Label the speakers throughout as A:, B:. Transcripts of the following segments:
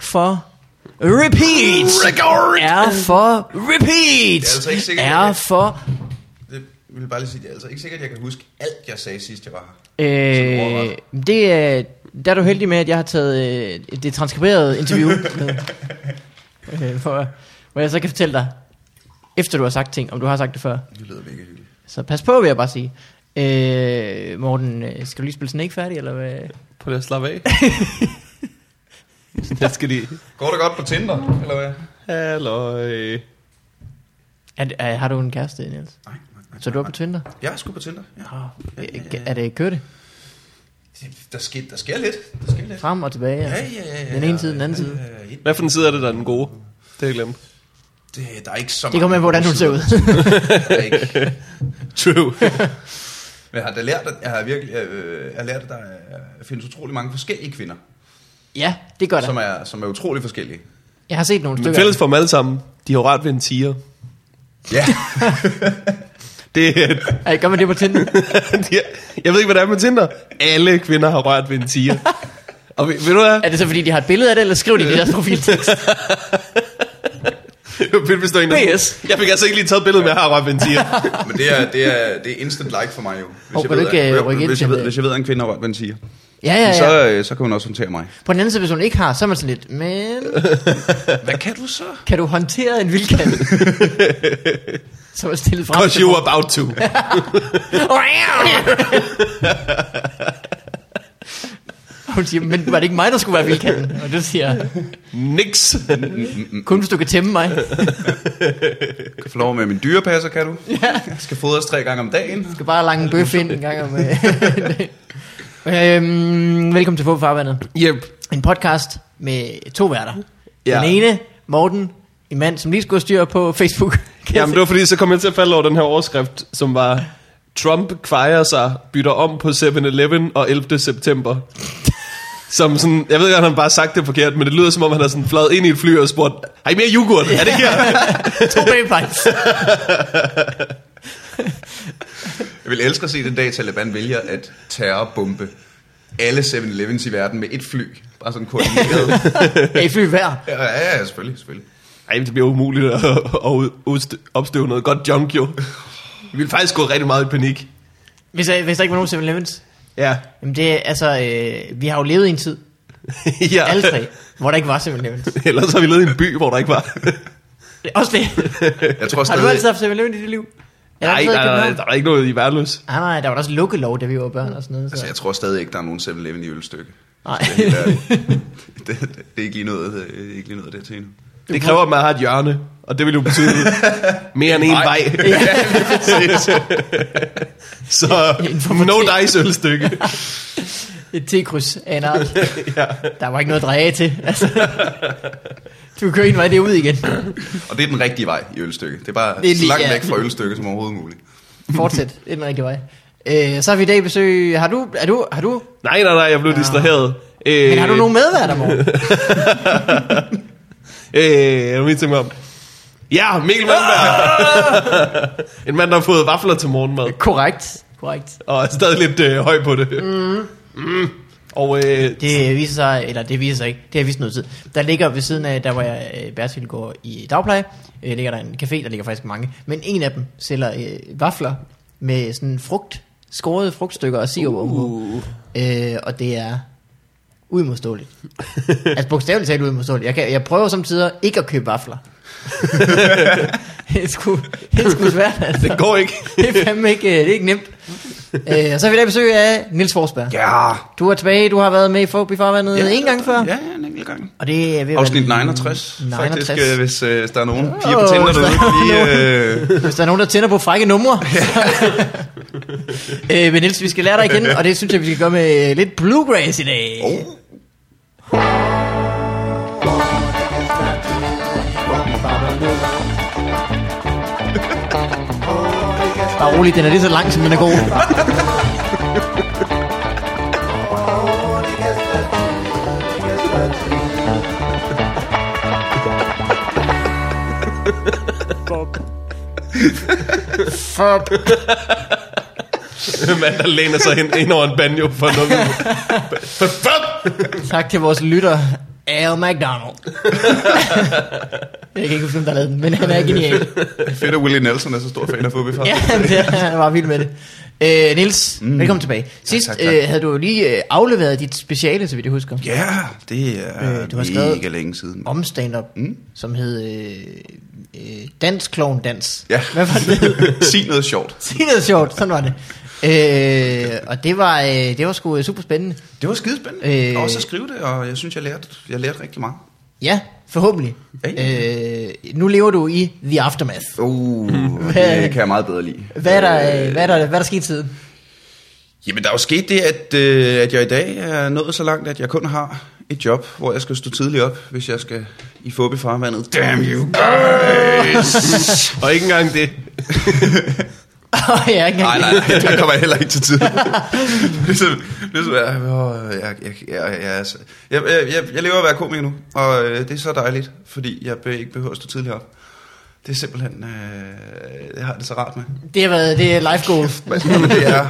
A: for repeat.
B: Record!
A: R for repeat.
B: Det er altså ikke sikkert,
A: R
B: jeg-
A: for... øh,
B: Det vil jeg bare lige sige, det er altså ikke sikkert, jeg kan huske alt, jeg sagde sidst, jeg var her.
A: Øh, det er... Der er du heldig med, at jeg har taget øh, det transkriberede interview med, øh, hvor, hvor jeg så kan fortælle dig, efter du har sagt ting, om du har sagt det før.
B: Det lyder mega hyggeligt.
A: Så pas på, vil jeg bare sige. Øh, Morten, øh, skal du lige spille Snake færdig, eller hvad?
C: Prøv lige at slappe af. jeg skal lige...
B: Går det godt på Tinder, eller hvad?
C: Halløj.
A: Er, det- er, har du en kæreste, Niels?
B: Nej, nej, nej.
A: Så du er på Tinder?
B: Jeg er sgu på Tinder, ja.
A: Oh, er, er det kørt
B: Det- Der sker, der sker lidt. Der sker lidt.
A: Frem og tilbage?
B: Ja,
A: altså.
B: ja, ja. ja
A: Den ene side, den anden side.
B: Ja, ja, ja.
C: Hvad for en side er det, der er den gode? Det har jeg glemt.
B: Det, der er ikke så
A: Det kommer
B: mange
A: med, hvordan hun
B: gode
A: ser
B: sider.
A: ud.
B: Der er ikke.
C: True.
B: Men jeg har da lært, at jeg har virkelig øh, jeg har lært, at der er- findes utrolig mange forskellige kvinder,
A: ja, det gør
B: som
A: der.
B: er, som er utrolig forskellige.
A: Jeg har set nogle
C: Men
A: stykker.
C: fælles for dem alle sammen, de har jo rart ved en tiger.
B: Ja,
C: Det, er-
A: Ej, gør man det på Tinder?
C: de, er- jeg ved ikke, hvad der er med Tinder. Alle kvinder har rørt ved en tiger. Og ved, ved du hvad?
A: er det så, fordi de har et billede af det, eller skriver de det i deres profiltekst?
C: Vil hvis der er en, der-
A: PS.
C: Jeg fik altså ikke lige taget billedet med, at jeg har rørt ved en tiger.
B: men det er, det er, det er instant like for mig jo. Hvis,
A: kan du ikke,
B: at-
A: øh, rykke ind
B: hvis, jeg
A: til-
B: ved, hvis jeg ved, at en kvinde har rørt ved en siger,
A: Ja, ja, ja.
B: så, øh, så kan hun også håndtere mig.
A: På den anden side, hvis hun ikke har, så er man sådan lidt, men
B: Hvad kan du så?
A: kan du håndtere en vildkat? så er man stillet frem.
C: Because you were about to.
A: Og hun siger, men var det ikke mig, der skulle være vildkatten? Og det siger jeg,
C: Nix.
A: kun hvis du kan tæmme mig.
B: Kan få lov med min dyrepasser, kan du?
A: ja.
B: Jeg skal fodres tre gange om dagen.
A: Du skal bare lange en bøf ind en gang om... øh, øhm, velkommen til Fup Farvandet.
C: Yep.
A: En podcast med to værter.
C: Ja.
A: Den ene, Morten, en mand, som lige skulle have styr på Facebook. Kan jeg
C: Jamen det
A: se.
C: var fordi, så kom jeg til at falde over den her overskrift, som var... Trump kvejer sig, bytter om på 7-Eleven og 11. september. Som sådan, jeg ved ikke, om han bare har sagt det forkert, men det lyder som om, han har sådan fløjet ind i et fly og spurgt, har I mere yoghurt? Er det her?
A: to bagpipes.
B: Jeg vil elske at se den dag, Taliban vælger at terrorbombe alle 7-Elevens i verden med et fly. Bare sådan koordineret.
A: Ja, i fly hver.
B: ja, ja, ja, selvfølgelig, selvfølgelig.
C: Ej, men det bliver umuligt at, at ud- udst- opstøve noget godt junk, jo. Vi ville faktisk gå rigtig meget i panik.
A: Hvis, der- hvis der ikke var nogen 7-Elevens.
C: Ja.
A: Jamen det er, altså, øh, vi har jo levet i en tid,
C: ja.
A: alle tre, hvor der ikke var 7-Elevens.
C: Ellers har vi levet i en by, hvor der ikke var.
A: Det er Også det.
B: Jeg tror
A: Har du
B: stadig,
A: altid haft 7-Eleven i dit liv? Er der
C: nej,
A: altid i
C: nej, nej,
A: København?
C: der er ikke noget i værløs.
A: Nej, nej, der var da også lukkelov, da vi var børn og sådan noget. Så.
B: altså, jeg tror stadig ikke, der er nogen 7-Eleven i ølstykke.
A: Nej.
B: Det, er helt ærligt. det, det, det, er ikke lige noget, øh, det er ikke lige noget det til endnu.
C: Det kræver, at man har et hjørne, og det vil jo betyde mere end en
B: Nej.
C: vej. Så
A: En form for
C: no
A: te.
C: dice ølstykke.
A: Et T-kryds af en art. Der var ikke noget at dreje af til. Altså, du kører en vej derud igen.
B: Og det er den rigtige vej i ølstykke. Det er bare
A: Det er
B: det er
A: lige-
B: så langt
A: ja.
B: væk fra ølstykke som overhovedet muligt.
A: Fortsæt, det er den rigtige vej. Øh, så har vi i dag besøg... Har du... Er du, har du
C: Nej, nej, nej, jeg blev distraheret. Øh,
A: men har du nogen medværter, Morten?
C: Øh, jeg må lige tænke mig om. Ja, Mikkel Malmberg.
A: Ah!
C: en mand, der har fået vafler til morgenmad,
A: Korrekt. Korrekt.
C: og er stadig lidt øh, høj på det. Mm. Og øh,
A: Det viser sig, eller det viser sig ikke, det har vist noget tid. Der ligger ved siden af, der hvor jeg øh, Bertil går i dagpleje, øh, ligger der en café, der ligger faktisk mange. Men en af dem sælger øh, vafler med sådan frugt, skårede frugtstykker og sirup uh. øh, Og det er uimodståeligt. altså bogstaveligt talt uimodståeligt. Jeg, kan, jeg prøver samtidig ikke at købe vafler. det er sgu, det er sgu svært, altså.
C: det går ikke.
A: Det er fandme ikke, øh, det er ikke nemt. Øh, og så har vi i dag besøg af Nils Forsberg.
B: Ja.
A: Du er tilbage, du har været med i Fogby Farvandet ja, en gang før. Ja.
B: Ja, ja, en enkelt gang.
A: Og det er ved at
B: Afsnit
A: være-
B: 69, 69.
A: 69.
B: faktisk, øh, hvis, øh, hvis der er nogen piger
A: Åh,
B: på Tinder
A: hvis der
B: derude.
A: er
B: Fordi, øh,
A: Hvis der er nogen, der tænder på frække numre. øh, men Niels, vi skal lære dig at kende, og det synes jeg, vi skal gøre med øh, lidt bluegrass i dag. Oh. Bare rolig, den er lige så lang, som den er god. Fuck.
C: En mand, der læner sig hen, ind over en banjo for noget. For fuck!
A: Tak til vores lytter. Al McDonald. jeg kan ikke huske, hvem der lavede den, men han er genial.
B: Fedt, at øh, Willie Nelson er så stor fan af Fubi
A: ja, det, han var vild med det. Øh, Nils, mm. velkommen tilbage. Sidst
B: tak,
A: tak,
B: tak.
A: Øh, havde du jo lige øh, afleveret dit speciale, så vidt jeg husker,
B: Ja, det er
A: Øh,
B: øh,
A: du
B: du
A: har
B: mega
A: skrevet-
B: længe siden.
A: om stand-up, mm. som hed øh, øh, Dans Klovn Dans.
B: Ja.
A: Hvad var det?
B: Sig noget sjovt.
A: Sig noget sjovt, sådan var det. Øh, og det var, øh, det var sgu øh, super spændende.
B: Det var skidespændende.
A: Øh.
B: Øh... Og så skrive det, og jeg synes, jeg lærte, jeg lærte rigtig meget.
A: Ja, forhåbentlig.
B: Ja,
A: Øh, nu lever du i The Aftermath.
B: Uh,
A: Hvad-
B: det kan jeg meget bedre lide.
A: Hvad er der, øh, hvad er der, hvad er der sket siden?
B: Jamen, der er jo sket det, at, øh, at jeg i dag er nået så langt, at jeg kun har et job, hvor jeg skal stå tidligt op, hvis jeg skal i fubi farvandet. Damn you guys!
C: Og ikke engang det.
A: Åh, jeg er ikke
B: Nej,
A: engang...
B: nej, nej, der kommer jeg heller ikke til tiden. ligesom, ligesom, jeg, åh, jeg, jeg, jeg, jeg, er så- jeg, jeg, jeg, jeg lever at være komiker nu, og øh, det er så dejligt, fordi jeg be, ikke behøver at stå tidligere op. Det er simpelthen, øh, jeg har det så rart med.
A: Det har været, det er life goals.
B: Men, men det er,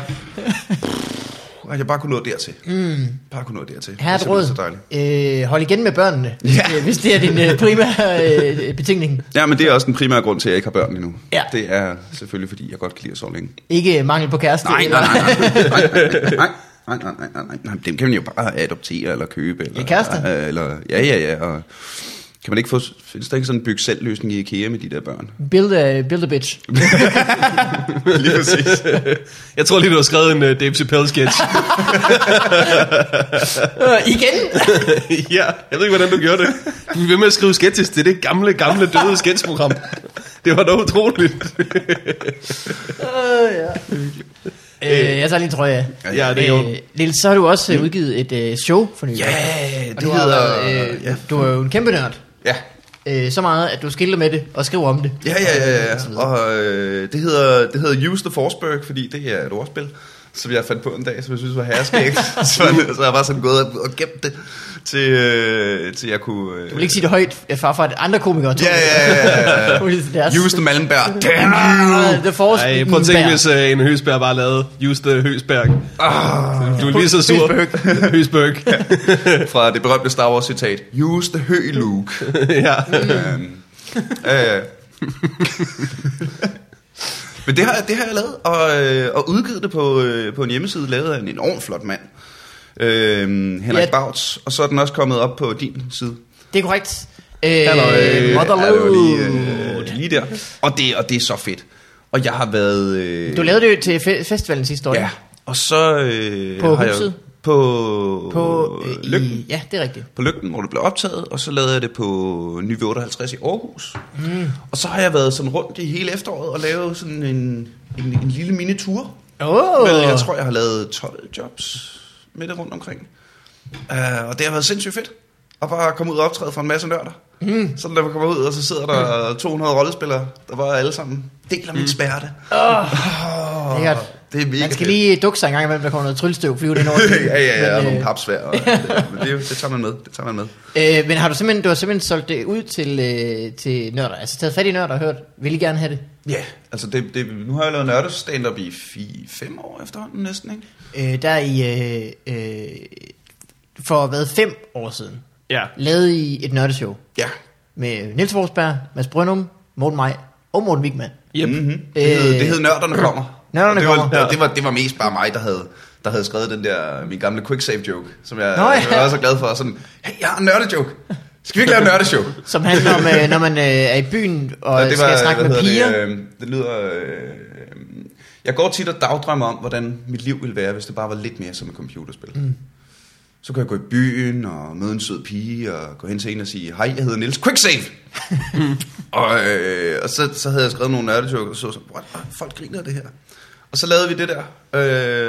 B: at jeg bare kunne nå dertil. Mm. Bare kunne nå dertil.
A: Her er
B: det
A: et
B: er
A: råd.
B: simpelthen så dejligt.
A: Øh, hold igen med børnene, hvis,
B: Ja.
A: det, hvis det er din øh, primære øh, betingning.
B: Ja, men det er også den primære grund til, at jeg ikke har børn endnu.
A: Ja.
B: Det er selvfølgelig, fordi jeg godt kan lide at sove længe.
A: Ikke mangel på kæreste.
B: Nej,
A: eller-
B: nej, nej, nej, nej. Nej, nej, nej, nej, nej, nej, dem kan man jo bare adoptere eller købe. Eller,
A: Ja, kærester.
B: øh, Eller, ja, ja, ja. Og kan man ikke få, findes der ikke sådan en byg selv løsning i IKEA med de der børn?
A: Build a, build a bitch.
B: Lige præcis.
C: Jeg tror lige, du har skrevet en uh, Dave Chappelle-sketch.
A: Øh, igen?
C: ja, jeg ved ikke, hvordan du gjorde det. Du blev ved med at skrive sketches til det gamle, gamle, døde sketchprogram. Det var da utroligt.
A: Øh, ja. øh, jeg tager lige en trøje af.
C: Ja, det er jo...
A: Øh, Niels, så har du også øh, udgivet et øh, show for nylig.
B: Mm. Ja,
A: Og
B: det
A: du, har,
B: hedder...
A: øh,
B: ja.
A: du er jo en kæmpe nørd.
B: ja.
A: Øh, så meget, at du skilter med det og skriver om det.
B: Ja, ja, ja,
A: Og så
B: ja.
A: videre.
B: Og øh, det, hedder, det hedder Use the Forsberg, fordi det er et ordspil, som jeg fandt på en dag, som jeg synes var herreskægt. så, så jeg var sådan gået og, og gemt det, til, øh, til jeg kunne... Øh,
A: Du vil ikke sige det højt, øh, far for at andre komikere
B: Ja, ja, ja, ja.
A: Hun er deres.
B: Use the Malmberg. Damn you!
A: Ah, The Force
C: Ej, prøv at tænke, hvis uh, en Høsberg bare lavede Just the Høsberg.
B: Ah.
C: Oh, du er lige så sur.
A: Høsberg.
C: Høsberg.
B: fra det berømte Star Wars citat. Use the hø, Luke.
C: ja.
B: øhm, øh. Men det har, jeg- det har jeg lavet, og, øh, og udgivet det på, øh, på en hjemmeside, lavet af en enormt flot mand. Øhm, Henrik
A: Ja.
B: ja. Bauts, og så er den også kommet op på din side.
A: Det er korrekt. Øh,
C: Halløj.
B: er det jo lige,
A: Motherload.
B: øh, lige der. Og det, og det er så fedt. Og jeg har været... Øh,
A: Du lavede det jo til fe- festivalen sidste år.
B: Ja, og så øh,
A: På
B: har
A: huset?
B: jeg, på,
A: På, øh,
B: Lygten.
A: i, ja, det er rigtigt.
B: på lygten, hvor det blev optaget, og så lavede jeg det på Nyve 58 i Aarhus. Mm. Og så har jeg været sådan rundt i hele efteråret og lavet sådan en, en, en lille minitur.
A: Åh,
B: Oh.
A: oh,
B: Jeg tror, jeg har lavet 12 jobs med det rundt omkring. Uh, og det har været sindssygt fedt. Og bare komme ud og optræde for en masse nørder. Mm. Sådan der man kommer ud, og så sidder
A: Mm.
B: der 200 rollespillere, der bare alle sammen deler min smerte. Oh.
A: Lækkert.
B: Det er mega
A: man skal
B: fedt.
A: lige dukke sig en gang imellem, der kommer noget tryllestøv flyve den over.
B: ja, ja, ja, og
A: Men,
B: nogle
A: øh,
B: papsvær. Og, det, men det, er jo- det tager man med. Det tager man med.
A: øh, men har du simpelthen, du har simpelthen solgt det ud til, øh, til nørder? Altså taget fat i nørder og hørt, vil I gerne have det?
B: Ja, yeah. altså det, det, nu har jeg lavet nørdes stand-up i 5 år efterhånden næsten, ikke?
A: Øh, der i, øh, øh, for hvad, fem år siden,
C: ja.
A: lavede I et nørdeshow
B: Ja.
A: med Niels Forsberg, Mads Brønum, Morten Maj og Morten Wigman.
C: Yep. Mm-hmm.
B: Mhm. Det, hed,
A: Øh,
B: det hed Nørderne kommer.
A: Nørderne
B: Og det Var,
A: kommer.
B: det, det, var, det var mest bare mig, der havde, der havde skrevet den der, min gamle quicksave joke, som jeg,
A: Nå, ja.
B: jeg var så glad for. Sådan, hey, jeg har en nørdejoke. Skal vi ikke lave en nørdeshow?
A: Som handler om, øh, når man øh, er i byen og
B: Ja,
A: ja, skal snakke
B: hvad
A: med
B: hedder
A: piger. Det,
B: Det, øh, det lyder... Øh, jeg går tit og dagdrømmer om, hvordan mit liv ville være, hvis det bare var lidt mere som et computerspil. Mm. Så kan jeg gå i byen og møde en sød pige og gå hen til en og sige, hej, jeg hedder Niels, quick save! og øh, og så, så havde jeg skrevet nogle nørdejokes, og så var sådan, what, folk griner af det her. Og så lavede vi det der,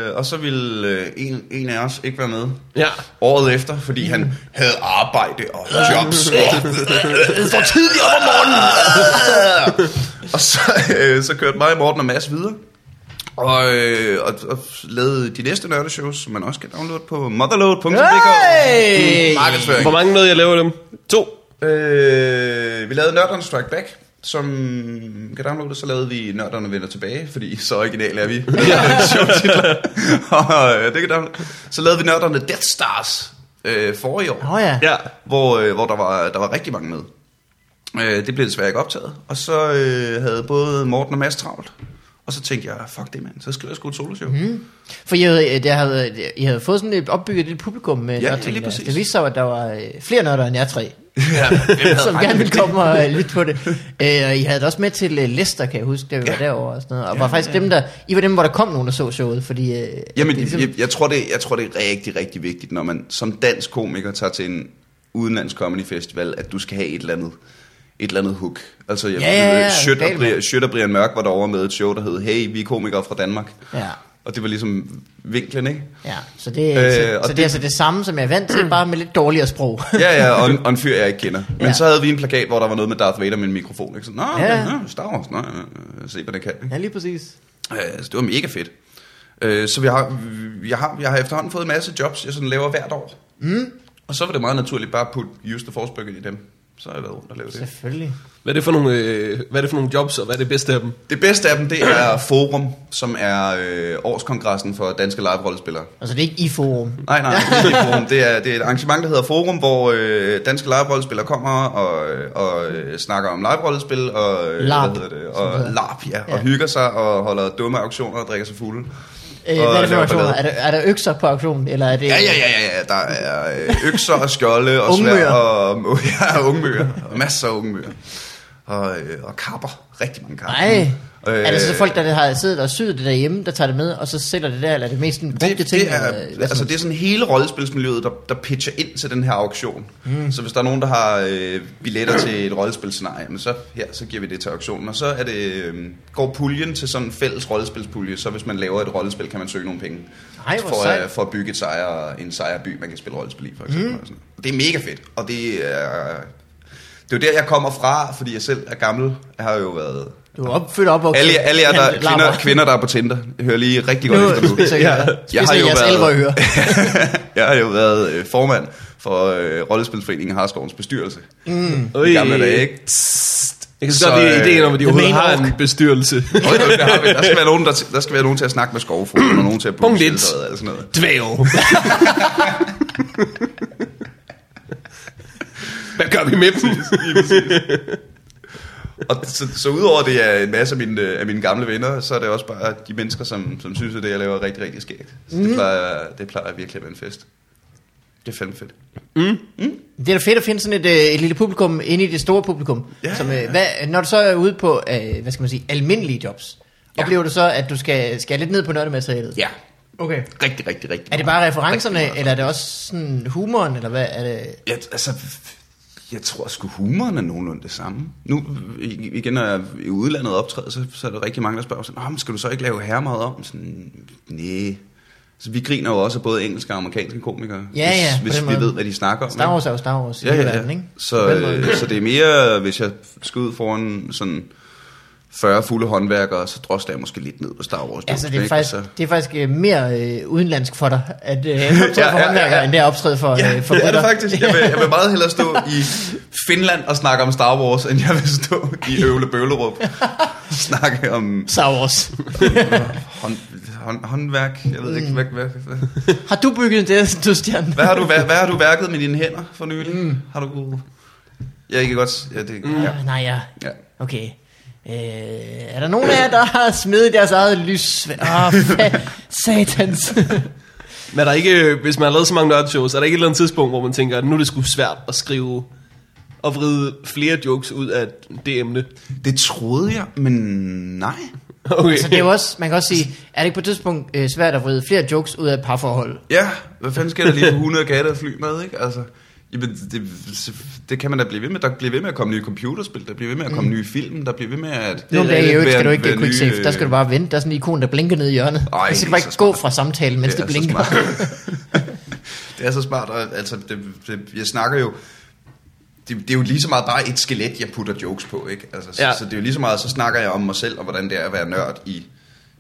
B: øh, og så ville øh, en, en af os ikke være med
C: Ja.
B: året efter, fordi han havde arbejde og jobs. For tidligt op om morgenen. og så, øh, så kørte mig, Morten og Mads videre. Og, øh, og, og lavede de næste nørdeshows, som man også kan downloade på motherload.dk.
A: Hey!
B: Markedsføring.
C: Hvor mange nåede jeg laver dem? To.
B: Øh, vi lavede Nørderne Strike Back, som kan downloade, så lavede vi Nørderne Vender Tilbage, fordi så originale er vi. Sjov titler. og, øh, det kan downloade. Så lavede vi Nørderne Death Stars, øh, forrige år.
A: Nå ja.
C: Ja.
B: hvor, øh, hvor der, var, der var rigtig mange med. Øh, det blev desværre ikke optaget. Og så øh, havde både Morten og Mads travlt. Og så tænkte jeg, fuck det mand, så skriver jeg sgu et soloshow. Mm.
A: For I havde, øh, der havde, I havde fået sådan et opbygget et publikum med
B: Ja,
A: nørting
B: lige
A: der.
B: præcis.
A: Det viste sig, at der var øh, flere nørder end jer tre,
B: ja, hvem havde
A: som gerne
B: regnet
A: ville
B: med det?
A: komme og øh, lytte på det. Øh, og I havde det også med til øh, Leicester, kan jeg huske, da vi ja. var
B: Ja.
A: derovre og sådan noget. Og ja, var faktisk ja. dem, der, I var dem, hvor der kom nogen og så showet, fordi... Øh, at
B: Jamen,
A: det ligesom-
B: jeg, jeg, tror det, jeg tror, det er rigtig, rigtig vigtigt, når man som dansk komiker tager til en udenlandsk comedy festival, at du skal have et eller andet, et eller andet hook. Altså, jeg
A: Ja, ja, ja,
B: Schødt, og
A: galt, mand.
B: Brian, Schødt og Brian Mørk var derovre med et show, der hed, hey, vi er komikere fra Danmark.
A: Ja.
B: Og det var ligesom vinklen, ikke?
A: Ja, så det, øh,
B: Øh,
A: så,
B: og
A: så det er
B: det-
A: altså det samme, som jeg er vant til, bare med lidt dårligere sprog.
B: Ja, ja, og en, og en fyr, jeg ikke kender. Men
A: Ja.
B: ja. så havde vi en plakat, hvor der var noget med Darth Vader med en mikrofon. Ikke? Så, Nå,
A: Ja.
B: ja. nå, Star Wars, nå, øh, se hvad det kan. Ikke?
A: ja, lige præcis.
B: Øh, så det var mega fedt. Øh, så vi har, vi har, jeg har efterhånden fået en masse jobs, jeg sådan laver hvert år. Mm. Og så var det meget naturligt bare at putte Just the Force Burger i dem. Så har jeg været rundt og lavet det.
A: Selvfølgelig.
C: Hvad er det for nogle, øh, hvad er det for nogle jobs, og hvad er det bedste af dem?
B: Det bedste af dem, det er Forum, som er øh, årskongressen for danske live-rollespillere.
A: Altså det er ikke i forum.
B: Nej, nej, det er ikke forum. Det er, det er et arrangement, der hedder Forum, hvor øh, danske live-rollespillere kommer og, og øh, snakker om live-rollespil og, øh,
A: LARP,
B: hvad hedder det,
A: som det
B: og
A: hedder.
B: larp, ja,
A: Ja.
B: og hygger sig og holder dumme auktioner og drikker sig fulde.
A: Øh, hvad er det for
B: laver
A: auktioner?
B: ballade.
A: Er der, er der økser på auktionen, eller er det...
B: Ja, ja, ja, ja, ja. Der er øh, økser og skjolde og svær
A: Ungmøer.
B: og ja, ungmøer. Og masser af ungmøer. Og, øh, og kapper. Rigtig mange kapper.
A: Nej.
B: Mm.
A: Øh, er det så folk, der har siddet og syet det derhjemme, der tager det med, og så sælger det der, eller er det mest en brugte
B: det,
A: ting?
B: det, det, er,
A: eller, øh, hvad
B: altså,
A: sådan
B: det er sådan hele rollespilsmiljøet, der, der pitcher ind til den her auktion. Mm. Så hvis der er nogen, der har øh, billetter til et rollespilscenarie, jamen så her, så giver vi det til auktionen. Og så er det, øh, går puljen til sådan en fælles rollespilspulje, så hvis man laver et rollespil, kan man søge nogle penge.
A: Ej, hvor
B: for,
A: sejt.
B: øh, for at bygge et sejr, en sejrby, man kan spille rollespil i, for eksempel. Mm. Og sådan. noget. Det er mega fedt, og det er... Det er jo der, jeg kommer fra, fordi jeg selv er gammel. Jeg har jo været...
A: Du er op, født op og
B: Alle, alle jer, der, kvinder, kvinder, der er på Tinder, hører lige rigtig godt efter nu.
A: nu. Så, ja. Jeg har jo jeres
B: været-
A: været... hører.
B: Jeg har jo været øh, formand for øh, Rollespilsforeningen Harskovens bestyrelse.
C: Øj,
B: Mm. gamle dage, ikke?
C: Tst. Jeg kan så
B: Så,
C: godt lide
B: øh,
C: ideen om, at de
A: The
C: overhovedet
A: main
C: har
A: orc.
C: en bestyrelse.
B: Og der, har vi, der, skal være nogen, der, der skal være nogen til at snakke med skovfruen, og nogen til at booke
C: Punkt et.
B: shelteret eller sådan noget.
C: Dvæv. Hvad gør vi med dem?
B: Og så, så udover det er en masse af mine, øh, af mine gamle venner, så er det også bare de mennesker, som, som synes, at det, jeg laver, er rigtig, rigtig skægt. Så det, plejer, det plejer virkelig at være en fest. Det er fandme fedt.
A: Det er da fedt at finde sådan et, øh, et lille publikum inde i det store publikum. Ja,
B: Ja,
A: som,
B: ja,
A: øh,
B: ja.
A: hvad, når du så er ude på, øh, hvad skal man sige, almindelige jobs, ja. oplever du så, at du skal, skal lidt ned på nørdematerialet?
B: Ja,
A: Okay.
B: rigtig, rigtig, rigtig
A: Er det
B: meget.
A: bare referencerne,
B: Rigtig meget.
A: eller er det også sådan humoren, eller hvad er det?
B: Ja, altså, jeg tror sgu humoren er nogenlunde det samme. Nu, i- igen, når jeg er i udlandet optræder, så, så er der rigtig mange, der spørger sådan, "Nå, men skal du så ikke lave herremad om? Sådan, nej. Så vi griner jo også af både engelske og amerikanske komikere,
A: Ja, ja, på
B: hvis,
A: den
B: hvis vi
A: måde.
B: ved, hvad de snakker om.
A: Star Wars er jo Star Wars i
B: ikke?
A: hele
B: ja, ja,
A: verden,
B: ja.
A: ikke? På
B: Så,
A: den måde.
B: øh, så det er mere, hvis jeg skal ud foran sådan 40 fulde håndværkere, så drosler jeg måske lidt ned på Star Wars.
A: Altså, det
B: ikke?
A: er
B: Og
A: faktisk,
B: så-
A: det er faktisk øh, mere øh, udenlandsk for dig, at øh, optræde
B: Ja,
A: for
B: ja, ja,
A: håndværkere,
B: ja.
A: end det er optræde for,
B: Ja,
A: øh, for
B: det er det
A: britter.
B: faktisk. Jeg vil, jeg vil meget hellere stå i Finland og snakke om Star Wars, end jeg vil stå i Øvle Bøvlerup og snakke om
A: Star Wars.
B: hånd, hånd, håndværk. Jeg ved ikke, hvad, hvad, hvad,
A: Har du bygget en Destiny-stjerne?
B: hvad, har du, hvad, hvad har du værket med dine hænder for nylig? Mm. Har du... Jeg kan godt... s- Ja, det, mm. ja.
A: Nej, ja.
B: ja.
A: Okay. Øh, er der nogen af jer, der har smidt deres eget lys? Åh, oh, fa- satans.
C: Men er der ikke, øh, hvis man har lavet så mange nørdshows, er der ikke et eller andet tidspunkt, hvor man tænker, at nu er det sgu svært at skrive og vride flere jokes ud af det emne?
B: Det troede jeg, men nej.
C: Okay.
A: Så Altså, det er jo også, man kan også sige, er det ikke på et tidspunkt øh, svært at vride flere jokes ud af et parforhold?
B: Ja, hvad fanden sker der lige for 100 katte og fly med, ikke? Altså, jamen, det, det kan man da blive ved med. Der bliver ved med at komme nye computerspil, der bliver ved med at komme mm. nye film, der bliver ved med at...
A: Nogle dage i øvrigt skal
B: være-
A: du ikke
B: være
A: give quick
B: nye,
A: save. Der skal du bare vente. Der er sådan en ikon, der blinker ned i hjørnet.
B: Ej,
A: Ej, så skal du
B: det
A: bare
B: er
A: ikke
B: så
A: gå
B: smart.
A: fra samtalen, mens det,
B: er så
A: blinker.
B: smart. det er så smart, og altså, det, det, jeg snakker jo, det, det er jo lige så meget bare et skelet, jeg putter jokes på, ikke? Altså, så,
C: Ja.
B: ja. så det er jo lige så meget, så snakker jeg om mig selv, og hvordan det er at være nørd i,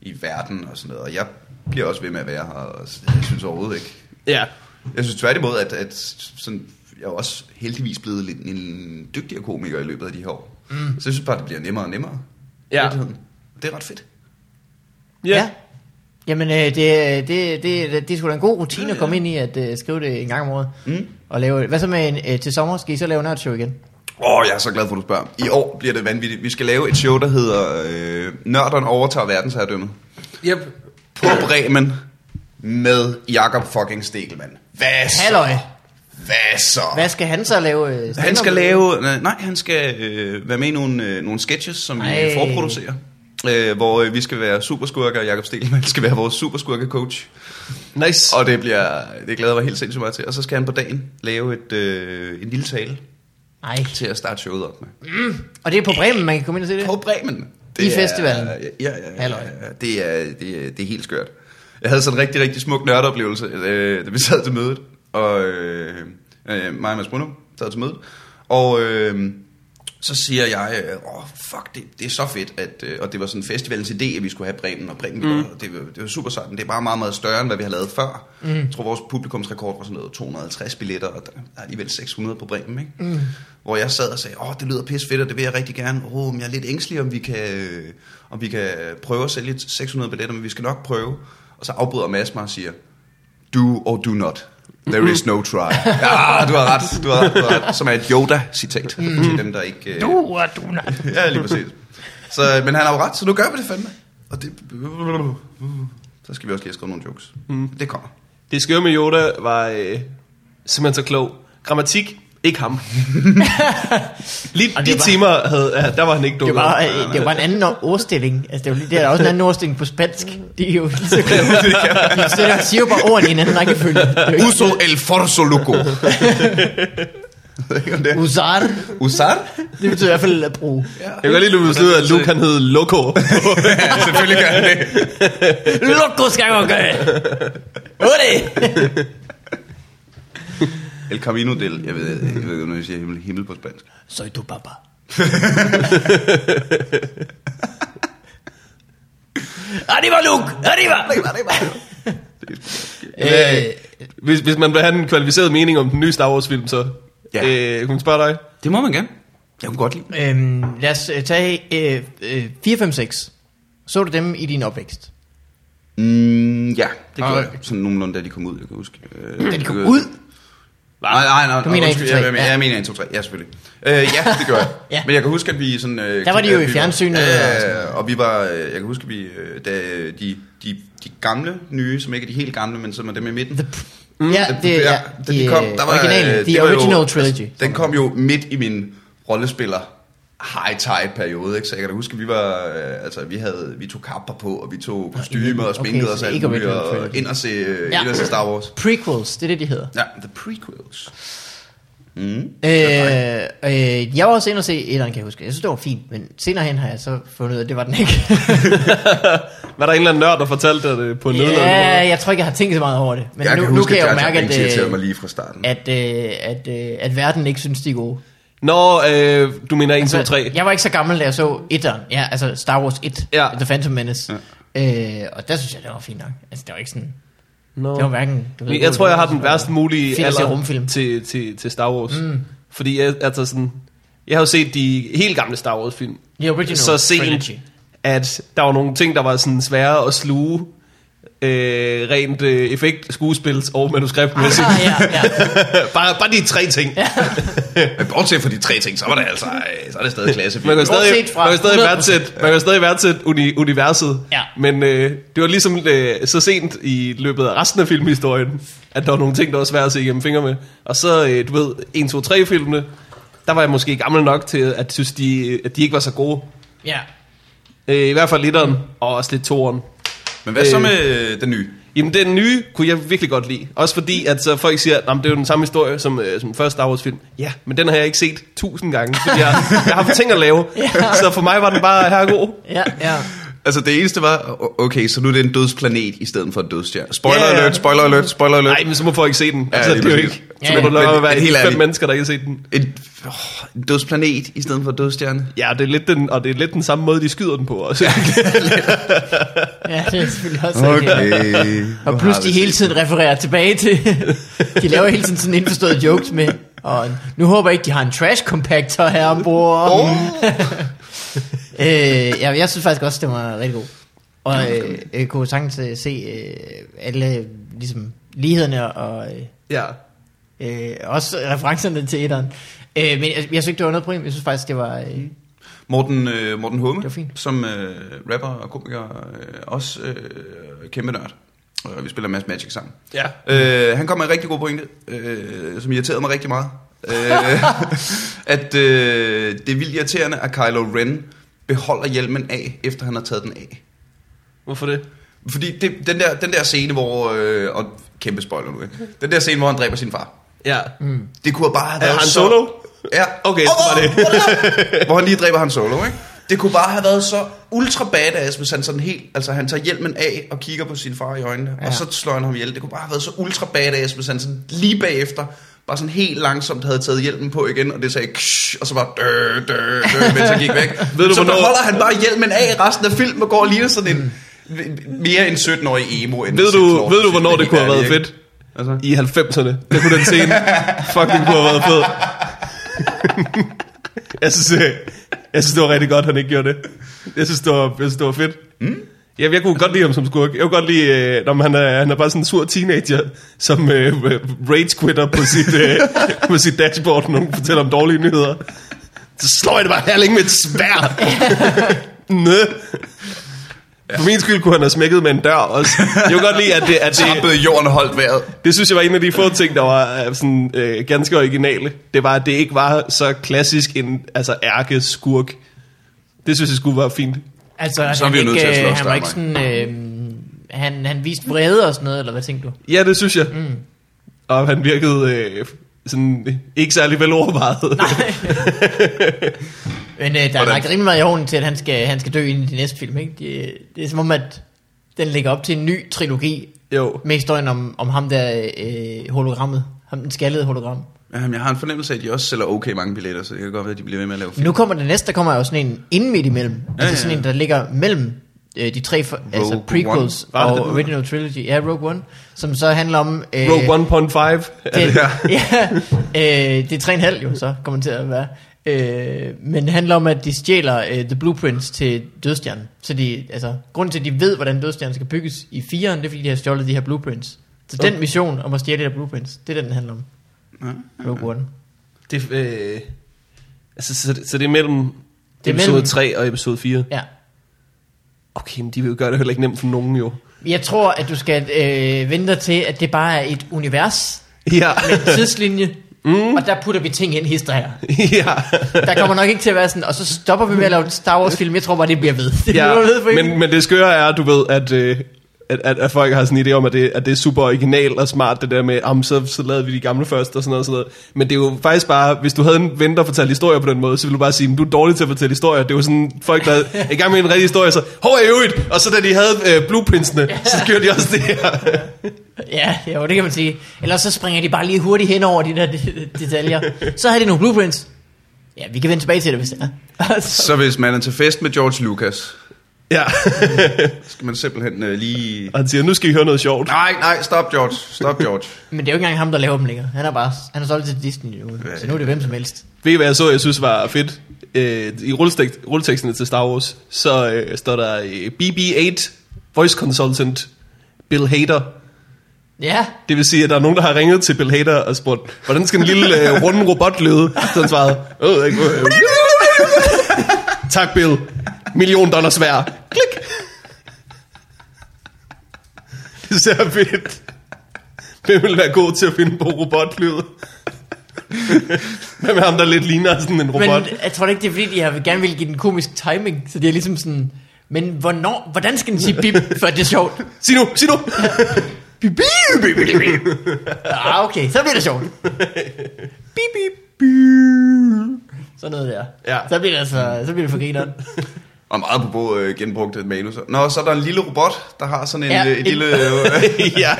B: i verden og sådan noget, og jeg bliver også ved med at være her, og s- jeg synes overhovedet ikke.
C: Ja.
B: Jeg synes tværtimod, at, at sådan, jeg er jo også heldigvis blevet lidt en dygtigere komiker i løbet af de her år. Mm. Så jeg synes bare, det bliver nemmere og nemmere. i
C: Ja.
B: virkeligheden. Det er ret fedt.
A: Ja.
C: Ja.
A: Jamen, øh, det, det, det, det, det er sgu da en god rutine ja, ja. at komme ind i, at øh, skrive det en gang om året. Mm. Og lave, hvad så med en, øh, til sommer? Skal I så lave nørdshow igen?
B: Åh, oh, jeg er så glad for, at du spørger. I år bliver det vanvittigt. Vi skal lave et show, der hedder øh, Nørderen overtager verdensherredømmet.
C: Yep.
B: På Bremen med Jakob fucking Stegelmann. Hvad så?
A: Halløj.
B: Hvad så?
A: Hvad skal han så lave? øh,
B: Han
A: stand-up
B: skal
A: med?
B: lave, nej, nej, han skal øh, være med i nogle, øh, nogle sketches, som
A: Ej.
B: vi forproducerer. Øh, hvor øh, vi skal være superskurker, og Jacob Stelman skal være vores superskurke-coach.
C: Nice.
B: Og det bliver, det glæder jeg mig helt sindssygt meget til. Og så skal han på dagen lave et, øh, en lille tale
A: Nej.
B: til at starte showet op med.
A: Og det er på Bremen, man kan komme ind og se det?
B: På Bremen.
A: I festivalen.
B: Er, ja, ja, ja, ja,
A: Halløj.
B: det, er, det, er, det er helt skørt. Jeg havde sådan en rigtig, rigtig smuk nørdeoplevelse, øh, da vi sad til mødet. Og øh, øh, mig og Mads Bruno sad til mødet. Og øh, så siger jeg, øh, åh fuck, det, det er så fedt. At, øh, og det var sådan festivalens idé, at vi skulle have Bremen og Bremen. Mm. Det, var- det var super sejt, men det er bare meget, meget større, end hvad vi har lavet før. Mm. Jeg tror, vores publikumsrekord var sådan noget 250 billetter, og der er alligevel 600 på Bremen. Ikke? Mm. Hvor jeg sad og sagde, åh, det lyder pis fedt, og det vil jeg rigtig gerne. Åh, men jeg er lidt ængstelig, om vi kan, øh, om vi kan prøve at sælge 600 billetter, men vi skal nok prøve. Og så afbryder Mads mig og siger, do or do not. There is no try. Ja, du har ret. Du har, ret, du har ret. Som er et Yoda-citat til dem, der ikke... Øh,
A: Du og du not.
B: Ja, lige præcis. Så, men han har jo ret, så nu gør vi det fandme. Og det... Så skal vi også lige have skrevet nogle jokes. Mm. Det kommer.
C: Det skøre med Yoda var øh, simpelthen så klog. Grammatik, ikke ham. Lige
A: Og
C: de
A: det var-
C: timer, havde, ja, der var han ikke
A: Det
C: dukket
A: var,
C: op.
B: nej,
A: øh,
B: nej.
A: det var en anden ordstilling. Altså, det, var, lige- det er der også en anden ordstilling på spansk. Det er jo lige så
B: Det kan man.
A: De sætter- de siger jo bare ordene i en anden rækkefølge. Det er jo ikke-
B: Uso el forzo loco. Jeg ved ikke, om det er-
A: Usar.
B: Usar?
A: Det betyder i hvert fald at bruge.
C: Jeg kan godt lide, at du besluttede, at Luke han hed Loco.
B: Ja, selvfølgelig gør han det.
A: Loco skal jeg gøre. Ode!
B: El Camino del, jeg ved, jeg ved ikke, om jeg siger himmel, himmel på spansk.
A: Soy tu papa. Arriba, Luke! Arriba! Øh,
C: hvis, hvis man vil have en kvalificeret mening om den nye Star Wars film, så
B: Ja.
C: ja. øh, kunne man spørge dig.
B: Det må man gerne. Jeg kunne godt lide.
A: øhm, lad os øh, tage øh, øh, 456. Så du dem i din opvækst?
B: Mm, ja, det gjorde
A: Og-
B: jeg. Sådan nogenlunde, da de kom ud, jeg kan huske. Øh,
A: Da de kom
B: øh,
A: ud?
B: Nej, nej, nej.
A: Du mener
B: undskyld,
A: 1-2-3,
B: jeg, jeg, jeg,
A: ja.
B: mener 1, 2, 3. Ja, selvfølgelig. Øh, ja, det gør jeg.
A: Ja.
B: ja. Men jeg kan huske, at vi sådan... Øh,
A: Der var de
B: kig-
A: jo
B: øh,
A: i
B: vi var-
A: fjernsynet
B: Ja,
A: og sådan
B: ja, ja, og vi var... øh, Jeg kan huske, at vi... øh, Da øh, de, de, de gamle nye, som ikke er de helt gamle, men som er dem i midten.
A: Mm, ja, det er ja,
B: da de kom, der var,
A: originale,
B: øh,
A: the
B: det var jo-
A: original
B: altså,
A: trilogy.
B: Den kom jo midt i min rollespiller high tide periode, ikke? Så jeg kan da huske, at vi var, øh, altså vi havde, vi tog kapper på, og vi tog kostymer og
A: okay,
B: sminkede
A: så
B: os
A: det er
B: alt
A: ikke
B: muligt,
A: original
B: og
A: trilogy.
B: ind og se, øh,
A: Ja.
B: ind og se Star Wars.
A: Prequels, det er det, de hedder.
B: Ja, the prequels. Mm.
A: Øh, øh, jeg var også inde og se etteren, kan jeg huske. Jeg synes, det var fint, men senere hen har jeg så fundet ud af, at det var den ikke.
C: Var der en eller anden nørd, der fortalte dig det på en yeah.
A: ja, jeg tror ikke, jeg har tænkt så meget over det. Men
B: jeg
A: nu,
B: kan
A: nu
B: huske,
A: kan jeg jo
B: at Jar Jar
A: mærke,
B: Binks
A: at,
B: irriterede mig
A: øh,
B: lige fra starten.
A: at, øh, at, øh, at verden ikke synes, de er gode.
C: Nå, øh, du mener
A: Altså,
C: 1, 2, 3.
A: Jeg var ikke så gammel, da jeg så etteren. Ja, altså Star Wars 1,
C: Ja.
A: The Phantom Menace. Ja. Øh, og der synes jeg, det var fint nok. Altså, det var ikke sådan...
C: Nå.
A: Det var hverken... Du
C: Jeg, jeg tror, jeg har den
A: eller-
C: værst mulige
A: Fedt at se
C: alder
A: rumfilm.
C: til, til, til Star Wars. Mm. Fordi jeg, altså sådan, jeg har jo set de helt gamle Star Wars-film.
A: The original
C: så sent,
A: trilogy.
C: at der var nogle ting, der var sådan svære at sluge. Øh, rent øh, effekt, skuespils og manuskriptmæssigt.
A: Ah, ja, ja.
C: bare, bare de tre ting. Ja.
B: Men bortset fra de tre ting, så var det altså, øh, så er det stadig klasse.
C: Man kan stadig,
A: Bortset fra
C: man kan stadig
A: 100%.
C: værdsætte, man kan stadig værdsætte uni, universet.
A: Ja.
C: Men øh, det var ligesom øh, så sent i løbet af resten af filmhistorien, at der var nogle ting, der var svære at se igennem fingre med. Og så, øh, du ved, 1, 2, 3 filmene, der var jeg måske gammel nok til, at synes, de, at de ikke var så gode.
A: ja.
C: Øh, I hvert fald
A: Mm.
C: litteren, og også lidt toeren.
B: Men hvad så
C: Øh.
B: med øh, den nye?
C: Jamen, den nye kunne jeg virkelig godt lide. Også fordi, at så folk siger, at "Nå, men det er jo den samme historie som, øh, som første Star Wars-film. Ja, men den har jeg ikke set tusind gange, fordi jeg, jeg har haft ting at lave.
A: Ja.
C: Så for mig var den bare her god.
A: Ja, ja.
B: Altså det eneste var, o- okay, så nu er det en dødsplanet i stedet for en dødsstjerne. Spoiler
C: Ja, ja.
B: alert, spoiler alert, spoiler alert.
C: Nej, men så må folk ikke se den.
B: Ja,
C: Altså,
B: lige
C: det er jo
B: præcis.
C: ikke.
A: Ja,
C: Så
A: ja.
C: må du lade
B: Men-
C: være
B: men
C: være
B: helt
C: fem
B: ærligt.
C: mennesker, der ikke har set den.
B: En, åh, en dødsplanet i stedet for en dødsstjerne.
C: Ja, det er lidt den, og det er lidt den samme måde, de skyder den på også.
A: ja, det er selvfølgelig også
B: Altså,
A: okay. Og plus de hele tiden refererer tilbage til De laver hele tiden sådan indforståede jokes med Og nu håber jeg ikke de har en trash compactor her ombord oh. øh, ja, Jeg synes faktisk også det var rigtig god Og øh, øh, kunne sagtens øh, se øh, alle øh, ligesom, lighederne og øh,
C: Ja.
A: øh, også referencerne til etteren. Øh, men jeg, jeg synes ikke, det var noget problem. Jeg synes faktisk, det var... Øh,
B: Morten, øh, Morten Humme,
A: Det var fint.
B: som øh, rapper og komiker, øh, også øh, kæmpe nørd. Og vi spiller en masse Magic sammen.
C: Ja.
B: Øh, han kom med en rigtig god pointe, øh, som irriterede mig rigtig meget. Øh, at øh, det er vildt irriterende, at Kylo Ren beholder hjelmen af, efter han har taget den af.
C: Hvorfor det?
B: Fordi det, den, der, den der scene, hvor... Øh, og kæmpe spoiler nu, ikke? Den der scene, hvor han dræber sin far.
C: Ja.
A: mm.
B: Det kunne bare have
C: Er
B: været
C: han
B: så-
C: solo?
B: Ja.
C: Okay, så var det.
B: hvor han lige dræber han solo, ikke? Det kunne bare have været så ultra badass, hvis han sådan helt... Altså, han tager hjelmen af og kigger på sin far i øjnene, ja.
A: Ja.
B: og så slår han ham ihjel. Det kunne bare have været så ultra badass, hvis han sådan lige bagefter bare sådan helt langsomt havde taget hjelmen på igen, og det sagde ksh, og så bare dø, dø, dø, mens han gik væk.
C: Ved du,
B: så
C: hvornår-
B: beholder han bare hjelmen af resten af filmen og går og ligner sådan en mere end 17-årig emo. End
C: Ved
B: en
C: du,
B: 16-årig
C: ved
B: film,
C: du hvornår det
B: helt
C: kunne have været
B: ærligt, ikke?
C: fedt? Altså? I 90'erne. Der kunne den scene fucking kunne have været fed. jeg, synes, øh, jeg synes, det var rigtig godt, han ikke gjorde det. Jeg synes, det var, jeg synes, det var fedt. Mm? Jamen, jeg kunne godt lide ham som skurk. Jeg kunne godt lide, øh, når han er, han er bare sådan en sur teenager, som øh, rage quitter på sit, øh, på sit dashboard, når nogen fortæller om dårlige nyheder. Så slår jeg det bare herling med et svær. Nø. For min skyld kunne han have smækket med en dør også. Jeg kunne godt lide, at det, at det,
B: Trampede jorden og holdt vejret.
C: det synes jeg var en af de få ting, der var øh, sådan, øh, ganske originale. Det var, at det ikke var så klassisk en altså, ærkeskurk. Det synes jeg skulle være fint.
A: Altså, at
B: Så er
A: han
B: vi jo nødt
A: ikke,
B: til at slås,
A: øh, Han var
B: der,
A: ikke sådan... Øh, han, han viste vrede og sådan noget, eller hvad tænkte du?
C: Ja, det synes jeg.
A: Mm.
C: Og han virkede øh, sådan, øh, ikke særlig velovervejet.
A: Men øh, der er
B: Hvordan?
A: lagt rimelig meget i hånden til, at han skal, han skal dø inden i de næste film, ikke? Det, det er som om, at den ligger op til en ny trilogi
C: Jo.
A: med historien om, om ham der øh, hologrammet. Ham den skaldede hologram.
B: Jamen, jeg har en fornemmelse af, at de også sælger okay mange billetter, så det kan godt være, at de bliver ved med at lave film.
A: Nu kommer det næste, der kommer jo sådan en inden midt imellem. Ja,
B: ja,
A: altså sådan
B: ja.
A: en, der ligger mellem øh, de tre for, altså
B: Rogue
A: prequels
C: One. Var det
A: og
C: den, der
A: original trilogy. Ja, Rogue One. Som så handler om... Øh,
C: Rogue 1.5.
A: Den,
B: Ja.
A: ja, øh, det er 3,5 jo så, kommer det til at være. Øh, men det handler om, at de stjæler øh, The Blueprints til dødstjernen. Så de, altså, grunden til, at de ved, hvordan dødstjernen skal bygges i 4'eren, det er, fordi de har stjålet de her blueprints. Så
C: Okay.
A: den mission om at stjæle de her blueprints, det er den, den handler om.
B: Ja.
A: Rogue One.
C: Det, øh, altså, så, så det er mellem
A: Det er
C: episode
A: mellem-
C: 3 og episode 4.
A: Ja.
C: Okay, men de vil jo gøre det heller ikke nemt for nogen jo.
A: Jeg tror, at du skal øh, vente dig til, at det bare er et univers
C: Ja.
A: med en tidslinje, mm. og der putter vi ting ind hister her.
C: ja.
A: Der kommer nok ikke til at være sådan, og så stopper vi med at lave en Star Wars film. Jeg tror bare, det bliver ved. Det bliver ved for
C: Ja,
A: evigt.
C: men, men det skøre er, du ved, at, øh, at, at, at folk har sådan en idé om, at det, at det er super original og smart, det der med, om så, så lavede vi de gamle først og sådan noget, og sådan noget. Men det er jo faktisk bare, hvis du havde en ven, der fortalte historier på den måde, så ville du bare sige, "Men du er dårlig til at fortælle historier. Det er jo sådan, folk der er i gang med en rigtig historie, så, hov, i øvrigt, og så da de havde øh, blueprintsene, så gjorde de også det her.
A: Ja, jo, det kan man sige. Ellers så springer de bare lige hurtigt hen over de der de- detaljer. Så har de nogle blueprints. Ja, vi kan vende tilbage til det, hvis det er.
B: Så hvis man er til fest med George Lucas,
C: ja,
B: skal man simpelthen øh, lige...
C: og han siger, nu skal I høre noget sjovt.
B: Nej, nej, stop George, stop George.
A: Men det er jo ikke engang ham, der laver dem længere. Han er bare han er solgt til Disney nu, så nu er det hvem som helst.
C: Ved I, hvad jeg så, jeg synes var fedt? Øh, I rulletek- rulleteksterne til Star Wars, så øh, står der øh, BB-8 Voice Consultant Bill Hader.
A: Ja,
C: Det vil sige, at der er nogen, der har ringet til Bill Hader og spurgt, hvordan skal en lille øh, runde robot lyde? Så han svarede, øh, ikke, øh, øh. tak Bill, million dollars værd. Klik. Det er så fedt. Hvem vil være god til at finde på robotlyde? Hvem er ham, der lidt ligner sådan en robot?
A: men jeg tror da ikke, det er fordi, de har gerne vil give den komisk timing. Så det er ligesom sådan, men hvornår, hvordan skal den sige bip, før det er sjovt?
C: Sig nu, sig nu. Bip, bip, bip, bip, bip.
A: Ah, okay, så bliver det sjovt. Bip, bip, bip. Sådan noget der.
C: Ja.
A: Så bliver det altså, så bliver det for grineren.
B: Og meget på både øh, genbrugte manuser. Nå, så er der en lille robot, der har sådan en,
A: Ja,
B: ja, øh,
A: en-
B: en lille... Øh,
C: ja.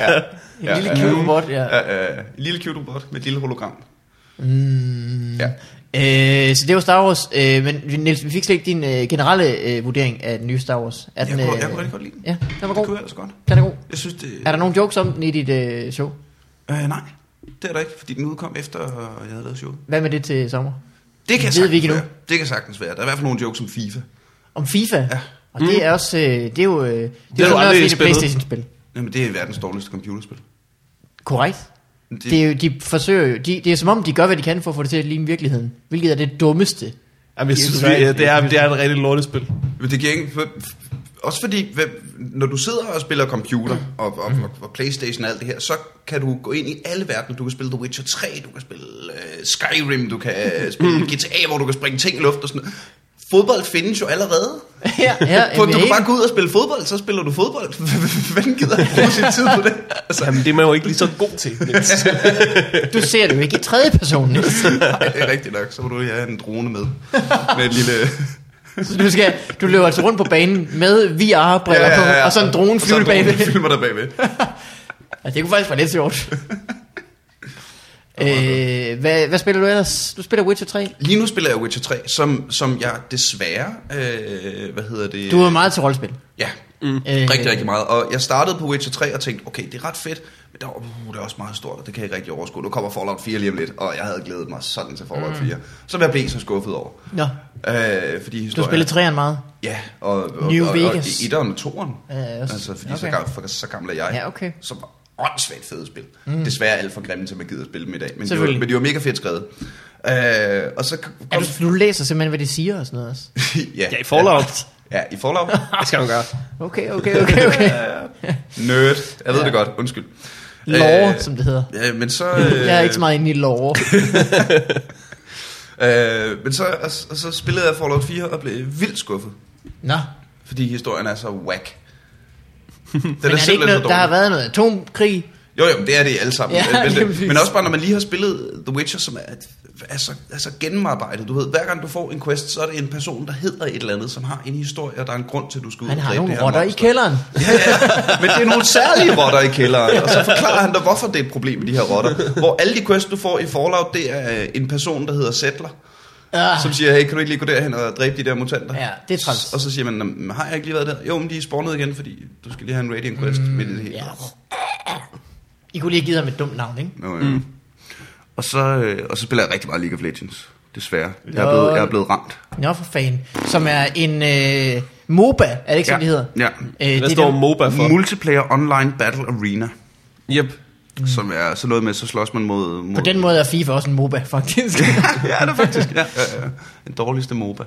A: En
B: Ja,
A: lille
B: ja.
A: cute robot, ja.
B: øh, øh, en lille cute robot med et lille hologram. Mm. Ja.
A: Øh, så det var Star Wars, øh, men Niels, vi fik slet ikke din øh, generelle øh, vurdering af den nye Star Wars. Er
B: Jeg
A: den, øh,
B: kunne, jeg kunne rigtig godt lide den.
A: Ja, den var
B: Det kunne
A: god.
B: jeg altså godt.
A: Den er god.
B: Jeg synes, det...
A: Er der nogen jokes om den i dit øh, show?
B: Øh, nej, det er der ikke, fordi den udkom efter, øh, jeg havde lavet showet.
A: Hvad med det til sommer?
B: Det kan
A: Ved vi
B: sagtens
A: ikke
B: være.
A: endnu.
B: Det kan sagtens være. Der er i hvert fald nogle jokes om FIFA.
A: Om FIFA?
B: Ja.
A: Og mm. det er også, øh, det er jo, øh, det er
C: har
A: jo
C: du
A: sådan
C: aldrig
A: noget fedt
C: spillet.
A: Playstation-spil.
B: Jamen, det er verdens dårligste computerspil.
A: Korrekt.
B: Det,
A: Det er jo, de forsøger jo, de, det er som om, de gør, hvad de kan for at få det til at ligne virkeligheden. Hvilket er det dummeste.
C: Jamen, jeg
A: Det er
C: synes, vi,
A: svært.
C: ja, det, er, det er et rigtig lortespil.
B: Men det giver ikke... For, også fordi, hvad, når du sidder og spiller computer og, og,
A: Mm.
B: og, og Playstation og alt det her, så kan du gå ind i alle verdener. Du kan spille The Witcher 3, du kan spille øh, Skyrim, du kan
A: Mm.
B: øh, spille GTA, hvor du kan springe ting i luft og sådan noget. Fodbold findes jo allerede.
A: ja, ja,
B: På, du
A: jamen,
B: kan bare
A: ikke?
B: gå ud og spille fodbold, så spiller du fodbold. Hvem gider at bruge sin tid på det? Altså,
C: Jamen, det er man jo ikke lige så god til. Niels.
A: Du ser det jo ikke i tredje person, Niels.
B: nej, det er rigtigt nok. Så må du lige have en drone med. Med et lille...
A: Så du, skal, du løber altså rundt på banen med VR-briller på, og så en drone
B: Og så
A: flyver
B: en drone
A: bagved.
B: filmer der bagved.
A: Ja, Altså, det kunne faktisk være lidt sjovt. øh, hvad, hvad spiller du ellers? Du spiller Witcher 3.
B: Lige nu spiller jeg Witcher 3, som, som jeg desværre... Øh, hvad hedder det?
A: Du er meget til rollespil.
B: Ja,
A: Mm.
B: rigtig, rigtig meget. Og jeg startede på Witcher 3 og tænkte, okay, det er ret fedt, men der, var- uh, det er også meget stort, og det kan jeg ikke rigtig overskue. Nu kommer Fallout 4 lige om lidt, og jeg havde glædet mig sådan til
A: Mm.
B: Fallout 4. Som jeg blev så skuffet over.
A: Nå,
B: Øh, fordi
A: du
B: historien,
A: spiller træerne meget.
B: Ja, og, og,
A: New
B: og,
A: Vegas.
B: og etteren og toeren.
A: Ja, også.
B: altså, fordi
A: Okay.
B: så, gammel, for, så gammel er jeg.
A: Ja, okay.
B: Som var åndssvagt fede spil. Mm. Desværre alt for grimme til, at man gider at spille dem i dag. Men de, var,
A: Selvfølgelig.
B: men de var mega fedt skrevet. Øh, og så kom,
A: Er du, du læser simpelthen, hvad de siger og sådan noget også.
B: ja,
C: Ja, i Fallout.
B: Ja, i Fallout.
C: Det skal man gøre.
A: Okay, okay, okay, okay.
B: Øh, Nerd. Jeg ved det godt, undskyld.
A: Lore,
B: Øh,
A: som det hedder.
B: Ja, men så... Øh,
A: Jeg er ikke så meget inde i lore.
B: Øh, men så, og, og så spillede jeg Fallout 4 og blev vildt skuffet,
A: Nå,
B: fordi historien er så whack. Den
A: men er det ikke noget, der har været noget atomkrig?
B: Jo, jo, men det er det alle sammen.
A: Ja,
B: Ja, men,
A: lige
B: det,
A: præcis.
B: men også bare, når man lige har spillet The Witcher, som er, er, så, er så gennemarbejdet. Du ved, hver gang du får en quest, så er det en person, der hedder et eller andet, som har en historie, og der er en grund til, at du skal ud
A: Han
B: og
A: har
B: dræbe det
A: nogle
B: her
A: rotter i
B: monster.
A: kælderen.
B: Ja, ja. Men det er nogle særlige rotter i kælderen, og så forklarer han dig, hvorfor det er et problem med de her rotter. Hvor alle de quests, du får i Fallout, det er øh, en person, der hedder Settler,
A: Ah,
B: som siger, hey, kan du ikke lige gå derhen og dræbe de der mutanter?
A: Ja, det er træls.
B: Og så siger man, "Nå, men har jeg ikke lige været der? Jo, men de er spawnet igen, fordi du skal lige have en Radiant Quest mm, midt i det hele.
A: ja. I kunne lige have givet ham et dumt navn, ikke?
B: Nå, ja. mm. og, så, øh, og så spiller jeg rigtig meget League of Legends, desværre. Jeg er blevet, jeg er blevet ramt.
A: Nå for fan. Som er en øh, MOBA, er det ikke sådan,
B: Ja,
A: det hedder?
B: ja.
A: Øh,
C: Hvad
A: det
C: står
A: der-
C: MOBA for?
B: Multiplayer Online Battle Arena,
C: Yep.
B: mm. som er sådan noget med, så slås man mod... mod
A: På den måde er FIFA også en MOBA, faktisk.
B: ja, det er faktisk ja, ja, ja. den dårligste MOBA.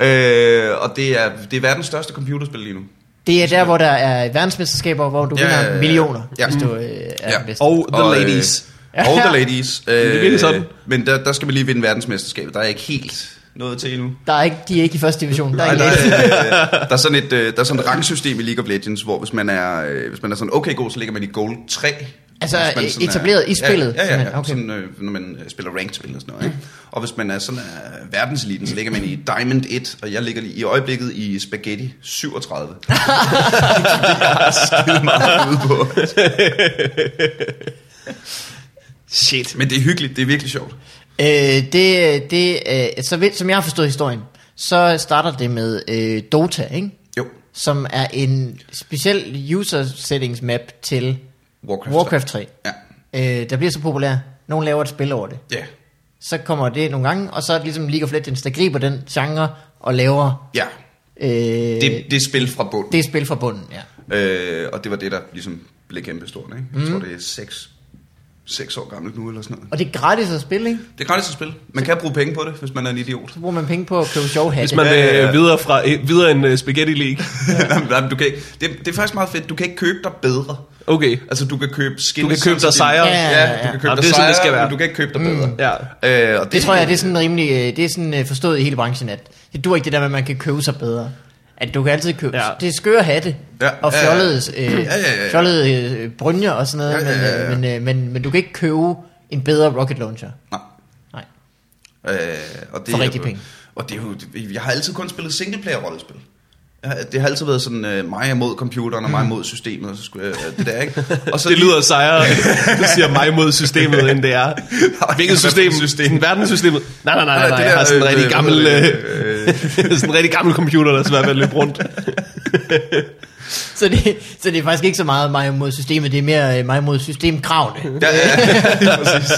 B: Øh, og det er, det er verdens største computerspil lige nu.
A: det er der, hvor der er verdensmesterskaber, hvor du
B: Ja,
A: vinder
B: ja, ja.
A: millioner,
B: Ja.
A: hvis du øh, er
B: Ja.
A: den bedste.
C: Og The
B: Og, øh,
C: Ladies.
B: Og The Ladies. Øh,
C: er virkelig sådan.
B: Men der, der skal man lige vinde verdensmesterskabet. Der er ikke helt noget til endnu.
A: Der er ikke, de er ikke i første division. Der er
B: Nej,
A: ikke
B: der,
A: der,
B: er, øh, der, er sådan et, øh, der er sådan et rangsystem i League of Legends, hvor hvis man er, øh, hvis man er sådan okay god, så ligger man i gold 3.
A: Altså,
B: Hvis man
A: øh,
B: sådan
A: etableret i spillet,
B: Ja, ja, ja, ja.
A: simpelthen. Okay.
B: Okay. Sådan, øh, når man øh, spiller ranked-spil og sådan noget. Ikke? Og hvis man er sådan øh, verdenseliten, så ligger man i Diamond 1, og jeg ligger lige i øjeblikket i Spaghetti 37. Fordi jeg har skide meget ude på.
C: Shit.
B: Men det er hyggeligt, det er virkelig sjovt.
A: øh, det, det, øh, så vidt, som jeg har forstået historien, så starter det med øh, Dota, ikke?
B: Jo,
A: som er en speciel user settings map til
B: Warcraft.
A: Warcraft 3.
B: Ja.
A: Øh, der bliver så populær. Nogen laver et spil over det.
B: Ja.
A: Så kommer det nogle gange, og så er det ligesom League of Legends, der griber den genre og laver
B: Ja.
A: øh, det,
B: Det, det er spil fra bunden.
A: det er spil fra bunden. Ja.
B: Øh, og det var det, der ligesom blev kæmpestort. Ikke? Jeg tror, det er 6, 6 år gammelt nu, eller sådan noget.
A: Og det er gratis at spille, ikke?
B: Det er gratis at spille. Man kan bruge penge på det, hvis man er en idiot.
A: Så bruger man penge på at købe sjove hatte.
C: Hvis man
B: Ja, ja, ja.
C: øh, videre, fra, øh, videre en øh, Spaghetti League.
B: Nej, men- nej, men du kan ikke, det, det er faktisk meget fedt. Du kan ikke købe dig bedre.
C: Okay.
B: Altså, du kan købe skins.
C: Du kan købe dig
B: til din-
C: sejre.
A: Ja,
B: Ja,
A: ja,
B: du
A: ja.
B: kan købe dig
C: Jamen, det er sådan,
B: sejre,
C: det skal være.
B: men du kan ikke købe dig bedre.
C: Ja.
B: Øh, og det,
A: Det tror jeg, det er sådan rimelig, øh, det er sådan øh, forstået i hele branchen, at det dur ikke det der med, at man kan købe sig bedre. At du kan altid købe,
C: Ja.
A: ja. det er skøre hatte,
B: Ja,
A: ja. og
B: ja, ja.
A: fjollede, øh, ja,
B: ja, ja, ja.
A: fjollede øh, brynjer og sådan noget,
B: Ja, ja, ja,
A: Men,
B: ja.
A: øh, men, øh, men, men du kan ikke købe en bedre rocket launcher.
B: Nej.
A: Nej.
B: Øh, og det,
A: For rigtige penge.
B: Og det er jo, jeg har altid kun spillet singleplayer-rollespil. Jeg har- Det har altid været sådan øh, mig mod computeren og mig mod systemet, og så skulle jeg, det der, ikke? Og så
C: Det lyder sejere, du siger mig mod systemet, end det er. Hvilket system? system? Verdenssystemet? Nej, nej, nej, nej, nej.
B: det
C: jeg har sådan en
B: øh,
C: rigtig
B: øh,
C: gammel,
B: hvad
C: øh,
B: hedder det? Øh,
C: sådan en rigtig gammel computer, der er svært ved at løbe rundt.
A: så, det, så det er faktisk ikke så meget mig mod systemet, det er mere øh, mig mod systemkravene.
B: Ja, ja, ja, præcis.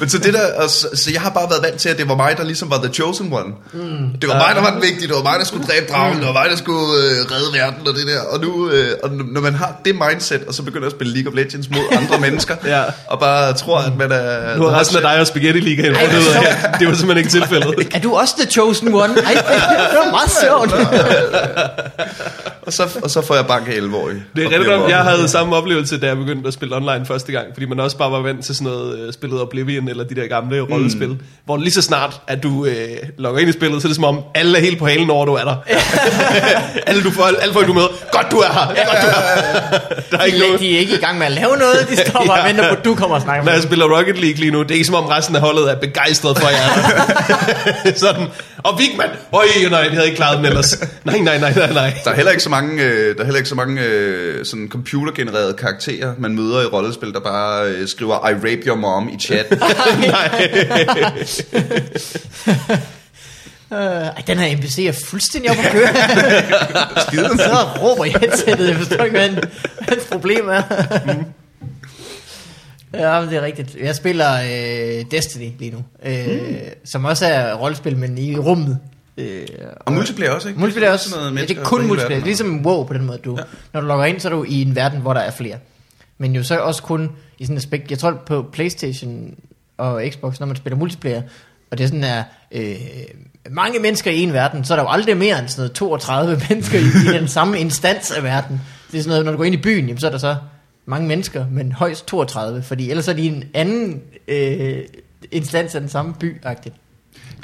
B: Men så det der, og så, så jeg har bare været vant til, at det var mig, der ligesom var the chosen one. Mm. Det var mig, der var den vigtige, det var mig, der skulle dræbe
C: Mm.
B: dragen, det var mig, der skulle øh, redde verden og det der. Og nu, øh, og n- når man har det mindset, og så begynder at spille League of Legends mod andre mennesker,
C: Ja.
B: og bare tror, at man er...
C: Nu har resten af dig og Spaghetti Ligaen
A: Ej,
C: fundet ud af,
A: så-
C: at det var simpelthen ikke tilfældet.
A: Er du også the chosen one? Ej, det var meget sjovt.
B: og, så, og så får jeg bank af 11-årige.
C: Det er
B: Og
C: rigtigt,
B: bliver
C: nok, jeg
B: mobbet.
C: havde samme oplevelse, da jeg begyndte at spille online første gang, fordi man også bare var vant til sådan noget øh, spillet Oblivion eller de der gamle mm. rollespil, hvor lige så snart, at du øh, logger ind i spillet, så er det som om, alle er helt på halen over, du er der. alle, du, får- alle folk, du møder, godt du er her, godt du er her. Der er ikke
A: De,
C: nogen.
A: de er ikke i gang med at lave noget, de står bare og venter på, at du kommer og snakker
C: Når
A: med
C: jeg
A: dem.
C: spiller Rocket League lige nu, det er ikke som om resten af holdet er begejstret for jer. sådan, og Vigman, øj nej, det havde jeg ikke klaret den ellers. Nej, nej, nej, nej, nej.
B: Der er heller ikke så mange, øh, der er heller ikke så mange øh, sådan computergenererede karakterer, man møder i rollespil, der bare øh, skriver, I rape your mom i chat.
A: Øh, ej, den her NPC er fuldstændig oppe at køre. Skide. Så råber i headsettet, jeg forstår ikke, hvad han- hans problem er.
C: Mm.
A: Ja, men det er rigtigt. Jeg spiller øh, Destiny lige nu, øh, mm. som også er rollespil, men i rummet. Øh,
B: og multiplayer også, ikke?
A: multiplayer også.
B: Sådan noget
A: ja, det
B: mennesker
A: er
B: fra
A: kun
B: hele
A: multiplayer.
B: verden.
A: Ligesom WoW på den måde. Du, ja. Når du logger ind, så er du i en verden, hvor der er flere. Men jo så også kun i sådan et aspekt. Jeg tror på Playstation og Xbox, når man spiller multiplayer, og det er sådan er øh, mange mennesker i en verden, så er der jo aldrig mere end sådan noget 32 mennesker i, i den samme instans af verden. Det er sådan noget, når du går ind i byen, jamen, så er der så mange mennesker, men højst 32, fordi ellers er de i en anden øh, instans af den samme by -agtigt.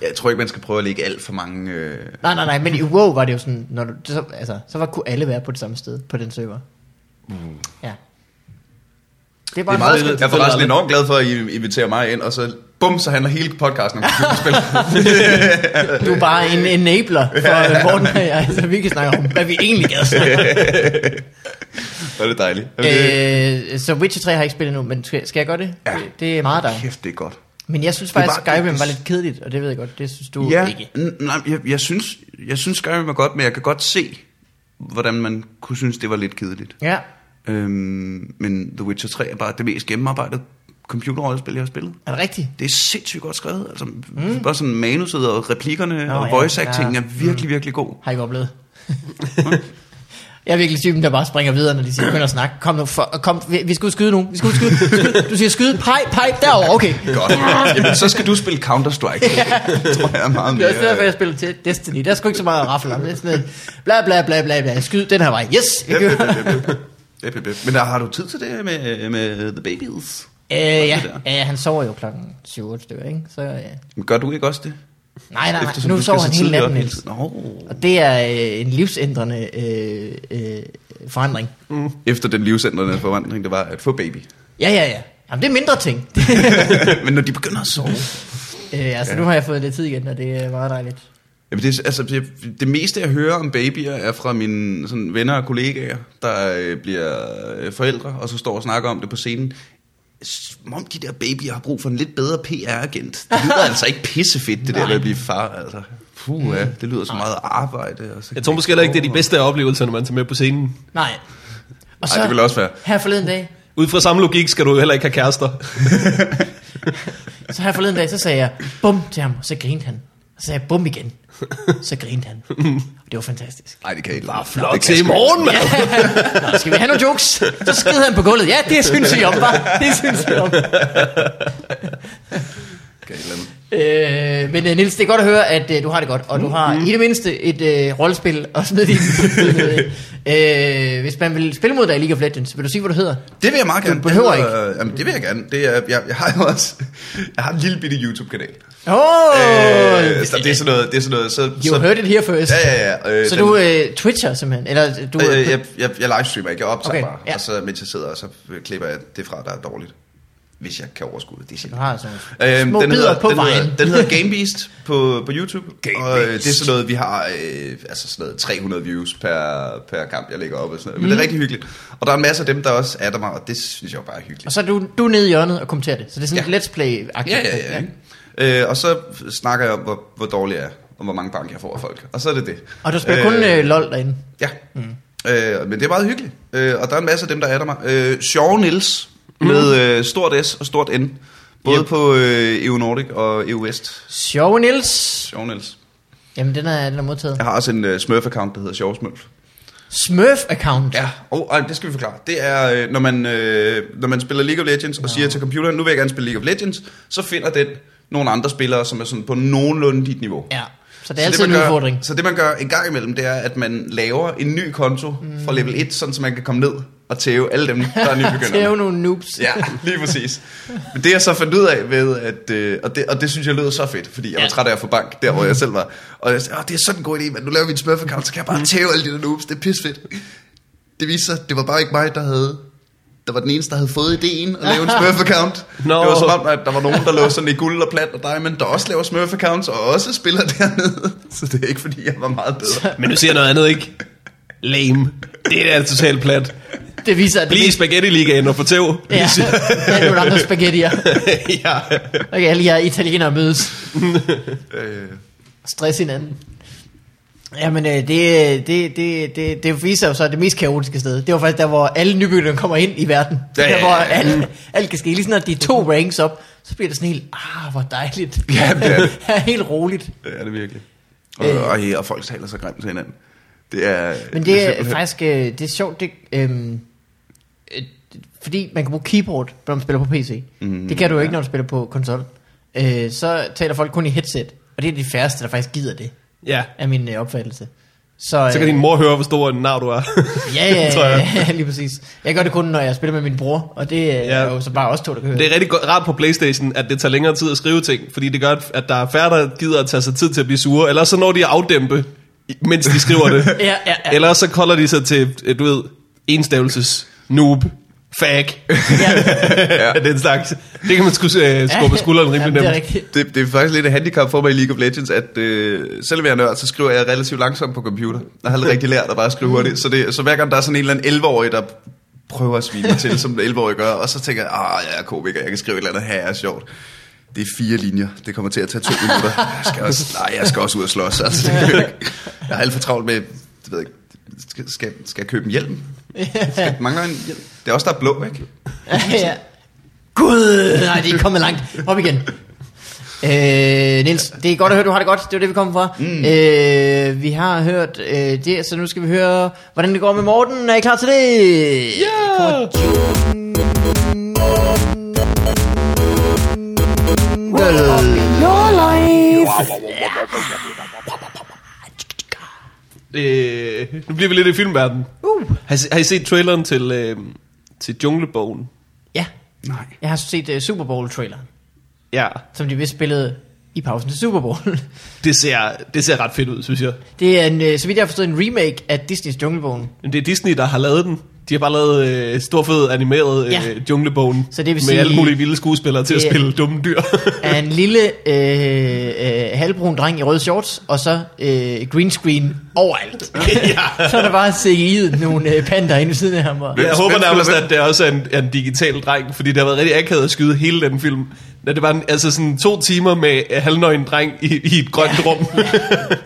B: Jeg tror ikke, man skal prøve at lægge alt for mange... Øh...
A: Nej, nej, nej, men i WoW var det jo sådan, når du, så, altså, så var, kunne alle være på det samme sted på den server. Mm. Ja. Det er
B: Det
A: bare det
B: er meget,
C: forskel.
B: jeg er forresten enormt glad for, at I inviterer mig ind, og så bum, så handler hele podcasten om computerspil.
A: du er bare en enabler for øh, Morten og jeg, altså, vi kan snakke om, hvad vi egentlig gad snakke om.
B: Hvor er det dejligt. Er det-
A: øh, Så Witcher 3 har jeg ikke spillet nu, men skal, skal jeg gøre det?
B: Ja.
A: Det- Det er meget dig.
B: Kæft, det er godt.
A: Men jeg synes
B: Det er
A: faktisk,
B: bare-
A: at Skyrim var lidt kedeligt, og det ved jeg godt, det synes du
B: ja,
A: ikke.
B: n- nej, jeg, jeg, synes, jeg synes Skyrim er godt, men jeg kan godt se, hvordan man kunne synes, det var lidt kedeligt.
A: Ja,
B: Øhm, men The Witcher 3 er bare det mest gennemarbejdede computerrollespil, jeg har spillet.
A: er det rigtigt?
B: Det er sindssygt godt skrevet. Altså, mm. Bare sådan manuset og replikkerne
A: Nå,
B: og
A: ja,
B: voice acting
A: ja. Mm.
B: ja. er virkelig, virkelig god.
A: Har I ikke oplevet? jeg er virkelig typen, der bare springer videre, når de siger, begynder at snakke. Kom nu, for, kom, vi, vi skal ud og skyde nu. Vi skal ud og skyde. skyde. Du siger skyde, pej, pej, derovre, okay.
B: Godt. Jamen, så skal du spille Counter-Strike. Det tror jeg er meget
A: Det er også derfor,
B: mere...
A: jeg spiller til Destiny. Der er sgu ikke så meget at rafle om. Det er sådan et bla bla bla bla bla. Skyd den her vej. Yes! Vi
B: Yep,
A: kører.
B: yep, yep, yep. Yep, yep, yep. Men der, har du tid til det med, med The Babies?
A: Øh, ja,
B: der.
A: øh, han sover jo klokken 7-8 stykker, ikke? Så, øh, nej,
B: Men gør du ikke også det?
A: nej, nej,
B: Eftersom
A: nu
B: du
A: sover
B: skal
A: han
B: så
A: hele
B: tidligt
A: natten,
B: op hele
A: Niels.
B: tiden. Nå.
A: Og det er øh, en livsændrende øh, øh, forandring.
B: Efter den livsændrende forvandling, det var at få baby.
A: Ja, ja, ja. Jamen, det er mindre ting.
B: Men når de begynder at sove...
A: øh, altså, nu har jeg fået lidt tid igen, og det er meget dejligt.
B: Jamen det, er- altså, det, det meste, jeg hører om babyer, er fra mine sådan, venner og kollegaer, der øh, bliver øh, forældre, og så står og snakker om det på scenen. Som om de der babyer har brug for en lidt bedre PR-agent. Det lyder altså ikke pissefedt, det der med at blive far. Altså. Puh, ja, det lyder så meget arbejde. Og så
C: Jeg tror måske heller ikke, det er de bedste af oplevelserne, man tager med på scenen.
A: Nej. Og
B: Ej, det ville også være.
A: Her forleden dag,
C: Ud fra samme logik skal du jo heller ikke have kærester.
A: så her forleden dag, så sagde jeg bum til ham, og så grinte han. Og så sagde jeg bum igen, så grinte han. Og det var fantastisk.
B: Nej, det kan ikke. Bare
C: Flot til i morgen, mand.
A: Nå, skal vi have nogle jokes? Så sked han på gulvet. Ja, det synes vi om, var. Det synes vi om. Øh, men øh, Nils, det er godt at høre, at øh, du har det godt, og du har
B: Mm-hmm.
A: i det mindste et øh, rollespil og smid i. øh, hvis man vil spille mod dig i League of Legends, vil du sige, hvad du hedder?
B: Det vil jeg meget gerne.
A: Du behøver ikke.
B: Øh, Jamen, det vil jeg gerne. Det er, jeg, jeg har jo også jeg har en lille bitte YouTube-kanal.
A: Åh! Oh,
B: Øh, så det er sådan noget... Det er sådan noget så,
A: you
B: så,
A: heard it here first.
B: Ja, ja, ja. Øh,
A: Så
B: den-
A: du øh, twitcher simpelthen? Eller du,
B: Øh, jeg, jeg, jeg livestreamer ikke, jeg optager
A: Okay,
B: okay, bare,
A: ja.
B: ja. og så mens jeg sidder, og så klipper jeg det fra, der er dårligt. Hvis jeg kan overskue det, det er
A: du
B: sjældent.
A: har sådan
B: Øhm,
A: små
B: den,
A: bidder
B: hedder,
A: på
B: den,
A: vejen.
B: hedder, den hedder Game Beast på, på YouTube,
C: Game
B: og øh, det er
C: Beast.
B: sådan noget, vi har øh, altså sådan noget 300 views per, per kamp, jeg lægger op og sådan noget. Men
A: Mm.
B: det er rigtig hyggeligt. Og der er masser af dem, der også adder mig, og det synes jeg jo bare er hyggeligt.
A: Og så er du, du er nede i hjørnet og kommenterer det. Så det er sådan
B: Ja.
A: ja. et let's play-agtigt.
B: Ja, ja, ja. ikke? Øh, og så snakker jeg om, hvor, hvor dårlig jeg er, og hvor mange bank jeg får af folk. Og så er det Øh, det.
A: øh, Og du spiller kun øh, LOL derinde.
B: Ja. Øh, men det er meget hyggeligt. Øh, og der er en masse af dem, der adder mig. Øh, Sjove Nils med øh, stort S og stort N. Både
C: Yep.
B: på øh, EU Nordic og EU West.
A: Sjov Nils.
B: Sjove Nils.
A: Jamen, den er, den er modtaget.
B: Jeg har også en øh, Smurf-account, der hedder Sjove Smurf.
A: Smurf-account.
B: Ja, og oh, det skal vi forklare. Det er, øh, når man, øh, når man spiller League of Legends og siger til computeren, nu vil jeg gerne spille League of Legends, så finder den nogle andre spillere, som er sådan på nogenlunde dit niveau.
A: ja. Så det er altid
B: man
A: en
B: gør,
A: udfordring.
B: Så det man gør en gang imellem, det er, at man laver en ny konto mm. fra level 1, sådan så man kan komme ned og tæve alle dem, der er nybegyndere.
A: Det er jo nogle noobs.
B: Ja, lige præcis. Men det jeg så fandt ud af ved, at, øh, og, det, og det synes jeg lød så fedt, fordi jeg var
A: Ja.
B: træt af at få bank, der hvor jeg selv var. Og jeg sagde, "Åh, det er sådan en god idé, men nu laver vi en smurf-account, så kan jeg bare tæve alle de der noobs, det er pisfedt. Det viste sig, det var bare ikke mig, der havde der var den eneste, der havde fået ideen at lave en Smurf-account.
C: Nå.
B: Det var som om, at der var nogen, der lå sådan i guld og plat og diamond, der også laver Smurf-accounts og også spiller dernede. Så det er ikke, fordi jeg var meget bedre.
C: Men du siger noget andet, ikke? Lame. Det er da altså totalt plat.
A: Det viser, at det
C: Bliv i Spaghetti-ligaen og få tæv.
A: Ja, der er nogle andre spaghettier.
C: ja.
A: Okay, alle jer italienere mødes.
B: Øh,
A: Stress hinanden. Jamen, øh, det, det, det, det, det viser jo så det mest kaotiske sted. Det var faktisk der, hvor alle nybyggerne kommer ind i verden. Det er
B: Ja,
A: der,
B: ja,
A: hvor
B: ja.
A: alt, alt kan ske. Lige sådan, at de er to ranks op, så bliver det sådan helt, ah, hvor dejligt.
B: Ja, det er det.
A: Ja, helt roligt.
B: det er det virkelig. Og,
A: Øh.
B: og, og folk taler så grimt til hinanden. Det er,
A: Men det er
B: simpelthen-
A: faktisk, øh, det er sjovt, det, øhm, øh, fordi man kan bruge keyboard, når man spiller på PC.
B: Mhm,
A: Mm, det kan du jo
B: ja.
A: ikke, når du spiller på konsol. Øh, så taler folk kun i headset, og det er de færreste, der faktisk gider det,
C: ja.
A: er min øh, opfattelse. Så,
C: Så kan din mor høre, hvor stor en nar du er.
A: Ja, ja,
C: tror
A: ja,
C: jeg.
A: ja, lige præcis. Jeg gør det kun, når jeg spiller med min bror, og det øh, er jo så bare os to, der kan høre.
C: Det er rigtig godt, rart på Playstation, at det tager længere tid at skrive ting, fordi det gør, at- at der er færre, der gider at tage sig tid til at blive sure, eller så når de at afdæmpe, mens de skriver det.
A: Ja, ja, ja.
C: Eller så kolder de sig til, øh, du ved, enstavelses noob, fag,
A: ja,
C: ja. den slags. Det kan man sgu øh, skubbe skulderen rimelig
A: Jamen, det er
C: nemt.
A: rigtigt.
B: Det, det er faktisk lidt et handicap for mig i League of Legends, at øh, selvom jeg er nørd, så skriver jeg relativt langsomt på computer. Jeg har aldrig rigtig lært at bare skrive hurtigt. Så, det, så hver gang der er sådan en eller anden 11-årig, der prøver at svine mig til, som 11-årig gør, og så tænker jeg, ah, jeg er komiker, jeg kan skrive et eller andet, her er sjovt. Det er fire linjer, det kommer til at tage to minutter. Jeg skal også, nej, jeg skal også ud og slås, altså det kan jeg ikke. Jeg er alt for travlt med, det ved jeg ikke, skal, skal, skal jeg købe en hjelm? Skal, jeg- mangler en hjelm? Det er også der er blå, ikke?
A: Ja, ja. Gud, nej, det er kommet langt. Op igen. Øh, Niels, det er godt at høre, du har det godt. Det var det, vi kom fra. Mm. Øh, vi har hørt øh, det, så nu skal vi høre, hvordan det går med Morten. Er I klar til det?
C: Øh, Ja! Øh, nu bliver vi lidt i filmverdenen.
A: Uh.
C: Har, I se- har I set traileren til, øh, til Junglebogen?
A: Ja,
B: Nej.
A: jeg har set uh, Super Bowl-traileren,
C: Ja,
A: som de vist spillede i pausen til Super Bowl.
C: det ser, det ser ret fedt ud, synes jeg.
A: det er, en, øh, så vidt jeg har forstået, en remake af Disneys Junglebogen.
C: Men det er Disney, der har lavet den. De har bare lavet øh, stor fed animeret øh,
A: Ja.
C: ja. junglebogen
A: Så det vil
C: med
A: sige-
C: alle mulige vilde skuespillere til at
A: Det-
C: spille dumme dyr.
A: af en lille øh, øh, halvbrun dreng i røde shorts, og så øh, green screen overalt.
C: ja.
A: så er der bare CGI'et nogle øh, panter inde ved siden af ham. Og,
C: Jeg
B: Hvem-
C: håber
B: hvem
C: nærmest,
B: spiller hvem?
C: at det også er en, er en digital dreng, fordi det har været rigtig akavet at skyde hele den film. Da det var en, altså sådan to timer med øh, halvnøgen dreng i, i et grønt rum.
A: jeg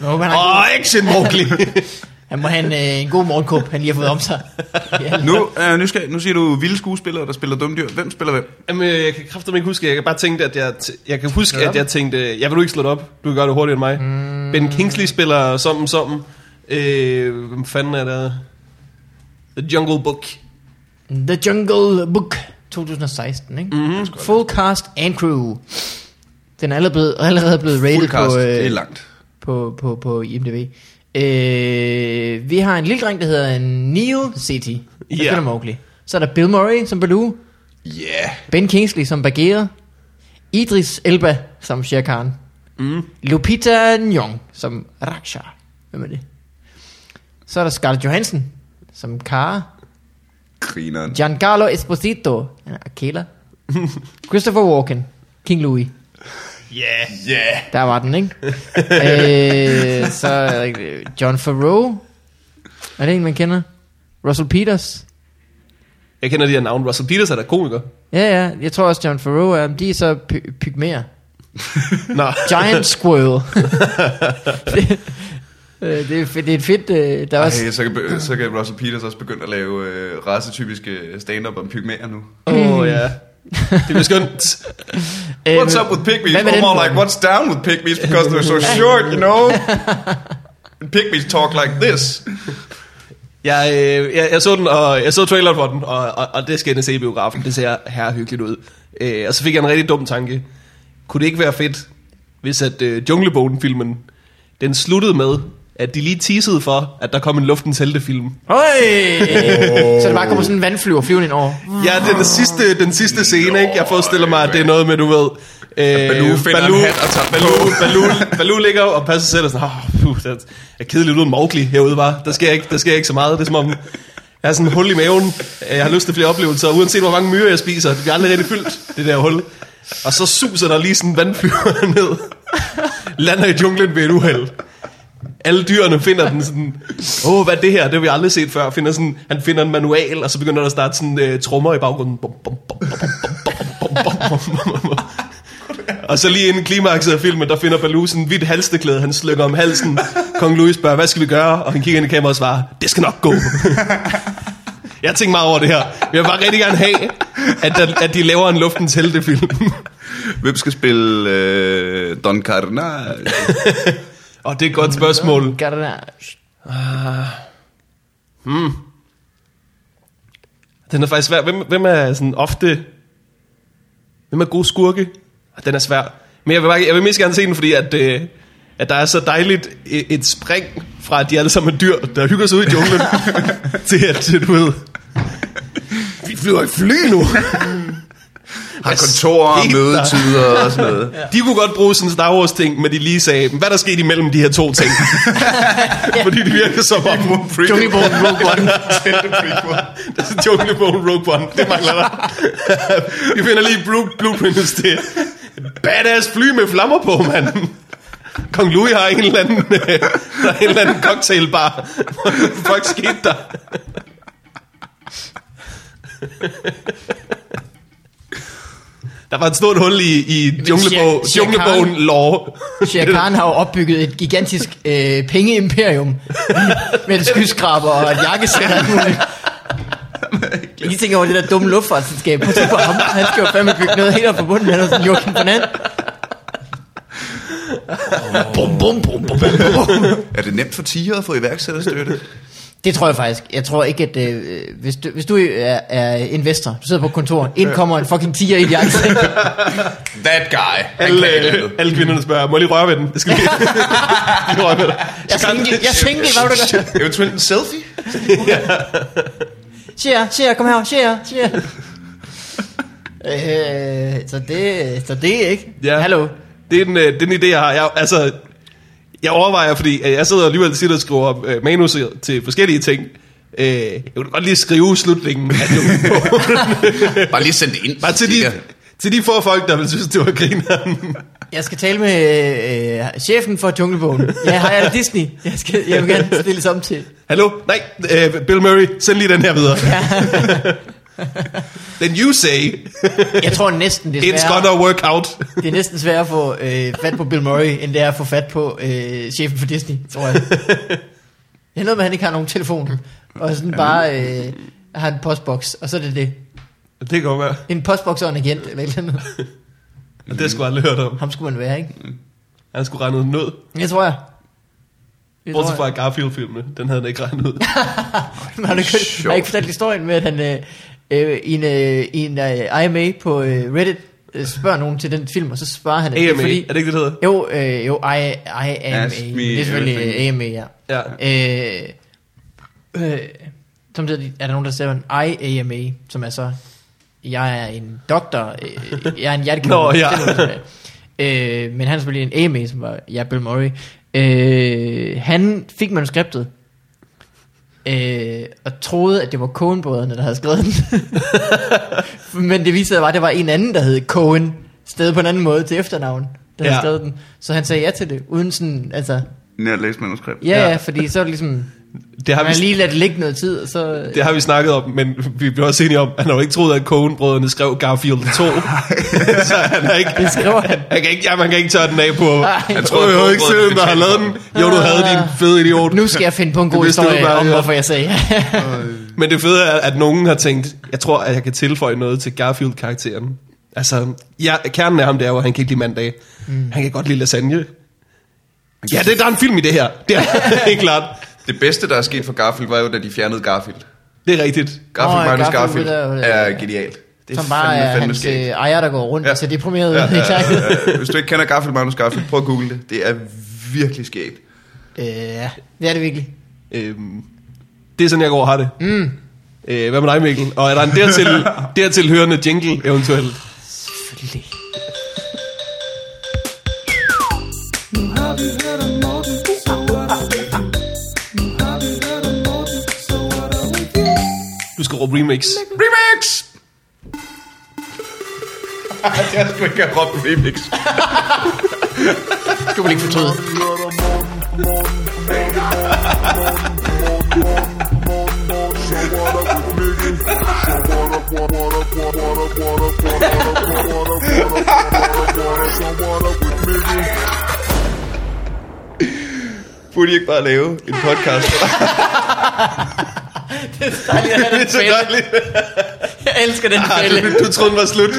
A: håber, han, har,
C: Åh,
A: en
C: oh, action, Mowgli!
A: god- han må have en, øh, en god morgenkåb, han lige har fået om sig. Ja,
B: Nu, øh, nu, skal, nu siger du vilde skuespillere, der spiller dumme dyr. Hvem spiller hvem?
C: Jamen, øh, jeg kan kraftedeme ikke huske, jeg kan bare tænke, at jeg, t- jeg kan huske,
A: Slå det
C: at
A: op.
C: jeg tænkte, jeg vil du ikke slå det op, du kan gøre det hurtigere end mig. Mm. Ben Kingsley spiller som som. Øh, hvem fanden er det? The Jungle Book.
A: The Jungle Book 2016, ikke? Mm-hmm. Full cast and crew. Den er allerede blevet, allerede blevet rated
B: Fuldcast,
A: på, øh,
B: det er langt.
A: på, på, på IMDb. Øh, vi har en lille dreng, der hedder Neil City. Der
C: Ja.
A: spiller Mowgli. Så er der Bill Murray som Baloo.
B: Ja. Yeah.
A: Ben Kingsley som Bagheera, Idris Elba som Shere Khan,
C: Mm.
A: Lupita Nyong som Raksha. Hvem er det? Så er der Scarlett Johansson som Kara,
B: Grineren.
A: Giancarlo Esposito, han er Akela, Christopher Walken, King Louis.
C: Yeah.
B: Ja.
A: Der var den, ikke? øh, så er der, øh, John Farrow. Er det en, man kender? Russell Peters.
C: Jeg kender de her navne. Russell Peters er der komiker.
A: Ja, ja. Jeg tror også, John Farrow er. De er så py- pygmæer.
C: Nå.
A: Giant Squirrel. Øh, det, er, fe- det er et fedt... Øh, der er også...
B: Ej, så, kan, be- så kan Russell Peters også begynde at lave øh, racetypiske stand-up om pygmæer nu.
C: Åh, oh, ja. Det bliver skønt.
A: Øh,
B: What's up with pygmies?
A: Hvad med
B: Or
A: den
B: more
A: på?
B: like, what's down with pygmies? Because they're so short, you know? Pygmies talk like this.
A: Øh,
C: Jeg, øh, jeg, jeg, så den, og jeg så traileren for den, og, og, og det skal jeg ind og se i biografen. Det ser herrehyggeligt ud. Øh, og så fik jeg en rigtig dum tanke. Kunne det ikke være fedt, hvis at øh, Junglebogen-filmen, den sluttede med, at de lige teasede for, at der kom en luftens heltefilm.
A: Høj! så der bare kommer sådan en vandflyver flyvende ind over.
C: Ja, det er den sidste, den sidste scene, ikke? Jeg forestiller mig, at det er noget med, du ved... Øh,
B: Baloo finder en hat og tager den
C: Altså, Baloo,
B: på.
C: Baloo, Baloo ligger og passer selv og sådan, oh, puh, det er kedeligt uden Mowgli herude, var. Der sker, ikke, der sker ikke så meget. Det er som om, jeg har sådan en hul i maven. Jeg har lyst til flere oplevelser, uanset hvor mange myrer jeg spiser. Det bliver aldrig rigtig fyldt, det der hul. Og så suser der lige sådan en vandflyver ned. Lander i junglen ved et uheld. Alle dyrene finder den sådan, åh, oh, hvad er det her? Det har vi aldrig set før. Finder sådan, han finder en manual, og så begynder der at starte sådan øh, trommer i baggrunden. Bum, bum, bum, bum, bum, bum, bum, bum, bum, bum, bum. Og så lige inden klimakset af filmen, der finder Baloo sådan en hvidt halsteklæde, han slykker om halsen. Kong Louis spørger, hvad skal vi gøre? Og han kigger ind i kameraet og svarer, det skal nok gå. Jeg tænker meget over det her. Jeg vil bare rigtig gerne have, at, der, at de laver en luftens heltefilm.
B: Hvem skal spille øh, Don Carnage?
C: Og det er et godt spørgsmål.
A: Gør det der.
C: Den er faktisk svær. Hvem, hvem er sådan ofte... Hvem er gode skurke? Ah, Den er svær. Men jeg vil, bare, jeg vil mest gerne se den, fordi at, øh, at der er så dejligt et, et spring fra, at de alle sammen er dyr, der hygger sig ud i junglen, til at, du ved... Vi flyver i fly nu!
B: Har kontorer,
C: Helt
B: mødetider og sådan noget.
C: De kunne godt bruge sådan en Star Wars ting, men de lige sagde, "Men hvad er der skete imellem de her to ting? Fordi det virker som om...
A: Junglebogen Rogue One.
C: Junglebogen Rogue One. Det mangler der. Vi finder lige blue, blueprints til. Badass fly med flammer på, mand. Kong Louis har en eller anden, øh, der er en eller anden cocktailbar. Fuck skete der? Der var et stort hul i, i junglebog,
A: Shere- Shere
C: junglebogen
A: Khan-
C: lore.
A: Shere Khan har jo opbygget et gigantisk øh, pengeimperium med et skyskraber og et jakkesæt og alt muligt. Jeg lige tænker over det der dumme luftfartsselskab. Prøv at tænke på ham. Han skal jo fandme bygge noget helt op på bunden. Han er sådan Joachim Fernand. Bum, bum, bum, bum, bum, bum.
B: Er det nemt for tiger at få iværksætterstøtte?
A: Det tror jeg faktisk. Jeg tror ikke, at øh, hvis, du, hvis du er, er investor, du sidder på et kontor, ind kommer en fucking tiger i et jakkesæt.
B: That guy. Han
C: Alle,
B: kan
C: øh,
B: det.
C: alle kvinderne spørger, må jeg lige røre ved den? Det skal lige, lige røre ved dig.
A: Jeg er single, jeg er single, hvad vil du gøre?
B: Eventuelt en selfie?
A: Shia, Shia, kom her, Shia, Shia. øh, så det, så det er ikke.
C: Ja.
A: Hallo.
C: Det er den, øh, den idé, jeg har. Jeg, altså, jeg overvejer, fordi øh, jeg sidder alligevel tit og skriver øh, manus til forskellige ting. Øh, jeg kunne godt lige skrive slutningen af Junglebogen.
B: Bare lige send det ind.
C: Bare til de, til de få folk, der vil synes, det var grineren.
A: Jeg skal tale med øh, chefen for Junglebogen. Ja, hej, er det Disney? Jeg, skal, jeg vil gerne stille som til.
C: Hallo? Nej, øh, Bill Murray, send lige den her videre. Then you say,
A: Jeg tror næsten, det er
C: it's
A: sværere,
C: gonna work out.
A: det er næsten sværere at få øh, fat på Bill Murray, end det er at få fat på øh, chefen for Disney, tror jeg. Det er noget med, at han ikke har nogen telefon, og sådan bare øh, har en postboks, og så er det det.
C: Det kan godt være.
A: En postboks og en agent, eller et eller andet.
C: Og det har jeg sgu aldrig hørt om.
A: Ham skulle man være, ikke?
C: Han skulle regne ud nød.
A: Det tror jeg. Det tror
C: Bortset
A: jeg.
C: fra Garfield-filmene. Den havde han ikke regnet ud.
A: Men har du ikke,
B: Sjovt.
A: har I ikke fortalt historien med, at han øh, øh, i en, øh, i en øh, IMA på øh, Reddit øh, spørger nogen til den film, og så svarer han, at det er
C: AMA,
A: fordi...
C: er det ikke det, det hedder?
A: Jo, øh, jo, I, I AMA.
B: Ask me
A: Det er selvfølgelig øh,
B: everything.
A: AMA, ja.
C: Ja.
A: Øh, øh, samtidig er der nogen, der siger, I AMA, som er så, jeg er en doktor, øh, jeg er en hjertekirurg.
C: Nå, ja.
A: Det er noget, der er. øh, men han er selvfølgelig en AMA, som var, ja, Bill Murray. Øh, han fik manuskriptet, øh, og troede, at det var Coen-brødrene, der havde skrevet den. Men det viste sig bare, at det var en anden, der hed Coen, stedet på en anden måde til efternavn, der ja.
C: Ja.
A: havde skrevet den. Så han sagde ja til det, uden sådan, altså,
B: Nær læse manuskript.
A: ja,
C: Ja.
A: ja, fordi så er det ligesom,
C: Det har,
A: Man har
C: vi,
A: lige ladt det ligge noget tid, og så...
C: det har vi snakket om, men vi blev også enige om, at han har jo ikke troet, at Coen-brødrene skrev Garfield 2. så han har ikke...
A: Det skriver han.
C: Han kan ikke, ja, man kan ikke tørre den af på...
A: Nej.
C: Han tror, jeg har ikke selv, der har lavet den. Ah. Jo, du havde din fede idiot.
A: Nu skal jeg finde på en
C: Det
A: god
C: vidste du
A: historie
C: bare,
A: om,
C: ja.
A: hvorfor jeg sagde ja.
C: Men det fede er, at nogen har tænkt, jeg tror, at jeg kan tilføje noget til Garfield-karakteren. Altså, ja, kernen af ham, det er jo, at han kan ikke lide mandag. Mm. Han kan godt lide lasagne. Ja, det, der er en film i det her. Det er helt klart.
B: Det bedste, der er sket for Garfield, var jo, da de fjernede Garfield.
C: Det er rigtigt.
B: Garfield
A: Åh,
B: oh, minus
A: Garfield,
B: Garfield,
A: det er jo-
B: er genialt. Det er
A: Som bare
B: fandme,
A: er
B: fandme
A: hans øh,
B: skægt.
A: ejer, der går rundt, ja.
B: Ja.
A: så deprimeret ja,
B: Ja,
A: ja, ja, ja.
B: Øh, Hvis du ikke kender Garfield minus Garfield, prøv at google det. Det er virkelig skægt.
A: Øh, det er det virkelig.
C: Øhm, det er sådan, jeg går og har det. Mm. Øh, hvad med dig, Mikkel? Og er der en dertil, dertil hørende jingle eventuelt? Du skal råbe remix.
B: Remix! jeg skulle ikke have råbt remix.
A: Det kan man ikke fortryde.
B: Burde I ikke bare lave en podcast?
A: Dejligt, at han er
B: det
A: en
B: er så
A: fælde.
B: dejligt.
A: Jeg elsker den
C: Ah,
A: fælde.
C: du, du troede, den var slut.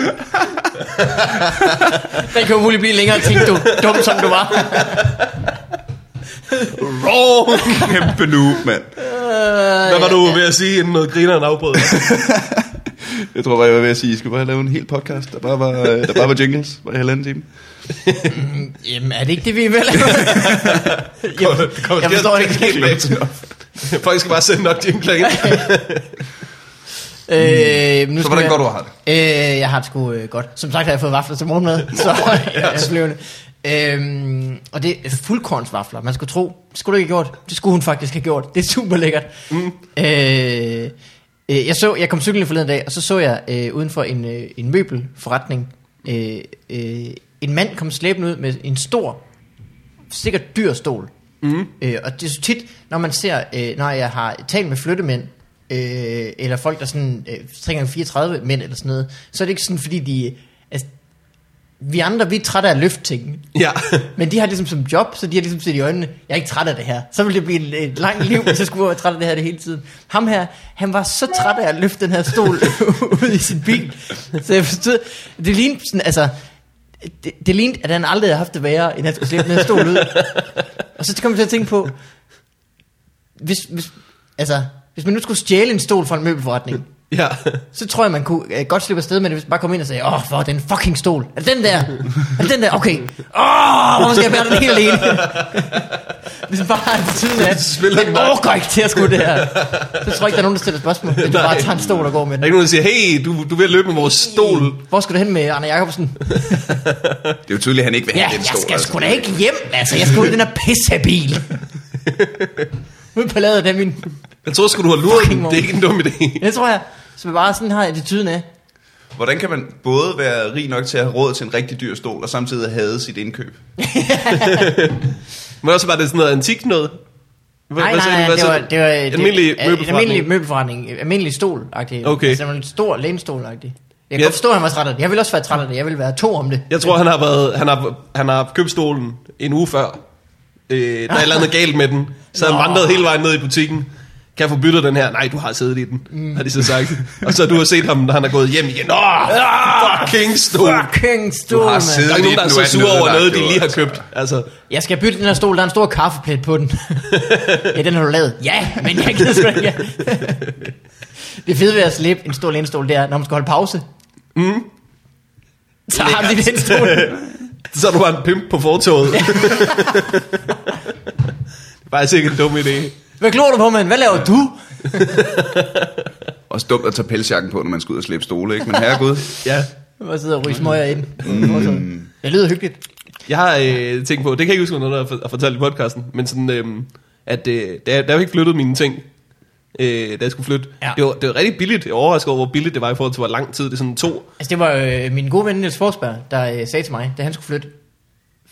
A: Den kan umuligt blive længere, tænkte du. Dum som du var.
C: Wrong!
B: Kæmpe noob, mand.
A: Øh,
C: Hvad var du ved at sige, inden noget grineren afbrød?
B: Jeg tror bare, jeg var ved at sige, I skulle bare lave en hel podcast, der bare var, øh, der bare var jingles var i halvanden time.
A: Jamen, er det ikke det, vi er ved at lave? jeg, jeg forstår det ikke helt.
C: Folk skal bare sende nok jingler ind.
A: Øh, nu
B: Mm. Så
A: skal
B: hvordan
A: jeg-
B: går du og har det?
A: Øh, jeg har det sgu øh, godt. Som sagt har jeg fået vafler til morgenmad, så jeg er fløvende. Øhm, og det er fuldkornsvafler. Man skulle tro, det skulle du ikke have gjort. Det skulle hun faktisk have gjort. Det er super lækkert. Mm. Øh, øh, jeg, så, jeg kom cyklen forleden dag, og så så jeg øh, uden for en, øh, en møbelforretning, øh, øh, en mand kom slæbende ud med en stor, sikkert dyr stol. Mm. Øh, og det er så tit, når man ser, øh, når jeg har talt med flyttemænd, øh, eller folk, der er sådan øh, 3x34 mænd eller sådan noget, så er det ikke sådan, fordi de... Altså, vi andre, vi er trætte af at løfte ting.
C: Ja.
A: Men de har ligesom som job, så de har ligesom set i øjnene, jeg er ikke træt af det her. Så ville det blive et, et langt liv, hvis jeg skulle være træt af det her det hele tiden. Ham her, han var så træt af at løfte den her stol ud i sin bil. Så jeg forstod, det lignede sådan, altså, det, det lignede, at han aldrig havde haft det værre, end at skulle slæbe den her stol ud. Og så kom jeg til at tænke på, hvis, hvis, altså, hvis man nu skulle stjæle en stol fra en møbelforretning,
C: Ja.
A: så tror jeg, man kunne øh, godt slippe afsted med det, hvis man bare kom ind og sagde, åh, oh, hvor er den fucking stol? Er det den der? Er det den der? Okay. Åh, oh, hvorfor skal jeg bære den helt alene? Hvis man bare har en siden af,
C: Spiller den
A: den
C: bare."
A: overgår ikke til at skulle det her. Så tror jeg ikke, der er nogen, der stiller spørgsmål, hvis du
C: Nej.
A: bare tager en stol og går med
C: Der er
A: den.
C: ikke nogen, der siger, hey, du, du er ved at løbe med vores stol.
A: Hvor skal du hen med Anna Jacobsen?
B: Det er altså. jo tydeligt, at han ikke vil
A: Ja,
B: have
A: jeg
B: den stol.
A: skal sgu da ikke hjem, altså. Jeg skal ud i den her pissebil. Ude på ladet af min...
C: Jeg tror sgu, du har luret den.
A: Fucking
C: Det er ikke en dum idé.
A: Det tror jeg. Så man bare sådan har attituden af.
B: Hvordan kan man både være rig nok til at have råd til en rigtig dyr stol, og samtidig have sit indkøb?
C: Men også bare det er sådan noget antikt noget. Hvad,
A: Nej,
C: hvad sagde du?
A: nej, nej,
C: Hvad
A: det
C: sagde
A: var,
C: du?
A: det var øh, det-
C: almindelig
A: en
C: møbelforretning.
A: almindelig møbelforretning, en almindelig stol -agtig.
C: Okay.
A: Altså, det var en stor lænestol -agtig. Jeg kan
C: Ja.
A: godt forstå, at han var træt af det. Jeg vil også være træt af det. Jeg vil være to om det.
C: Jeg tror, han har, været, han har, han har købt stolen en uge før. Øh, der er et eller andet galt med den. Så han
A: Nå.
C: vandrede hele vejen ned i butikken. Kan jeg få byttet den her? Nej, du har siddet i den, mm. har de så sagt. Og så du har set ham, når han er gået hjem igen. Åh,
B: Ah,
C: fucking stol.
A: Fucking stol,
B: Du har
A: mand.
B: siddet-
C: Der er ikke nogen, der er
B: Nu er
C: så
B: den
C: sure over
B: ødelagt,
C: noget, de
B: jo,
C: lige har
B: altså.
C: købt. Altså,
A: Jeg skal bytte den her stol, der er en stor kaffeplet på den. ja, den har du lavet. Ja, men jeg gider sgu ikke. Ja. det fede ved at slippe en stor lænestol, det er, når man skal holde pause. Mm. Så har de den stol.
C: så er du bare en pimp på fortoget. det er faktisk ikke en dum idé.
A: Hvad glor du på, mand? Hvad laver du?
B: Også dumt at tage pelsjakken på, når man skal ud og slæbe stole, ikke? Men herregud.
C: Ja.
A: Jeg sidder og ryger smøger ind.
C: Mm.
A: Det lyder hyggeligt.
C: Jeg har øh, tænkt på, det kan jeg ikke huske, om der er noget, jeg har fortalt i podcasten, men sådan, øh, at øh, da, jeg, da jeg ikke flyttede mine ting, øh, da jeg skulle flytte,
A: Ja.
C: ja. det, var, det var rigtig billigt. Jeg overrasker over, hvor billigt det var i forhold til, hvor lang tid det er sådan to.
A: Altså det var øh, min gode ven Niels Forsberg, der øh, sagde til mig, da han skulle flytte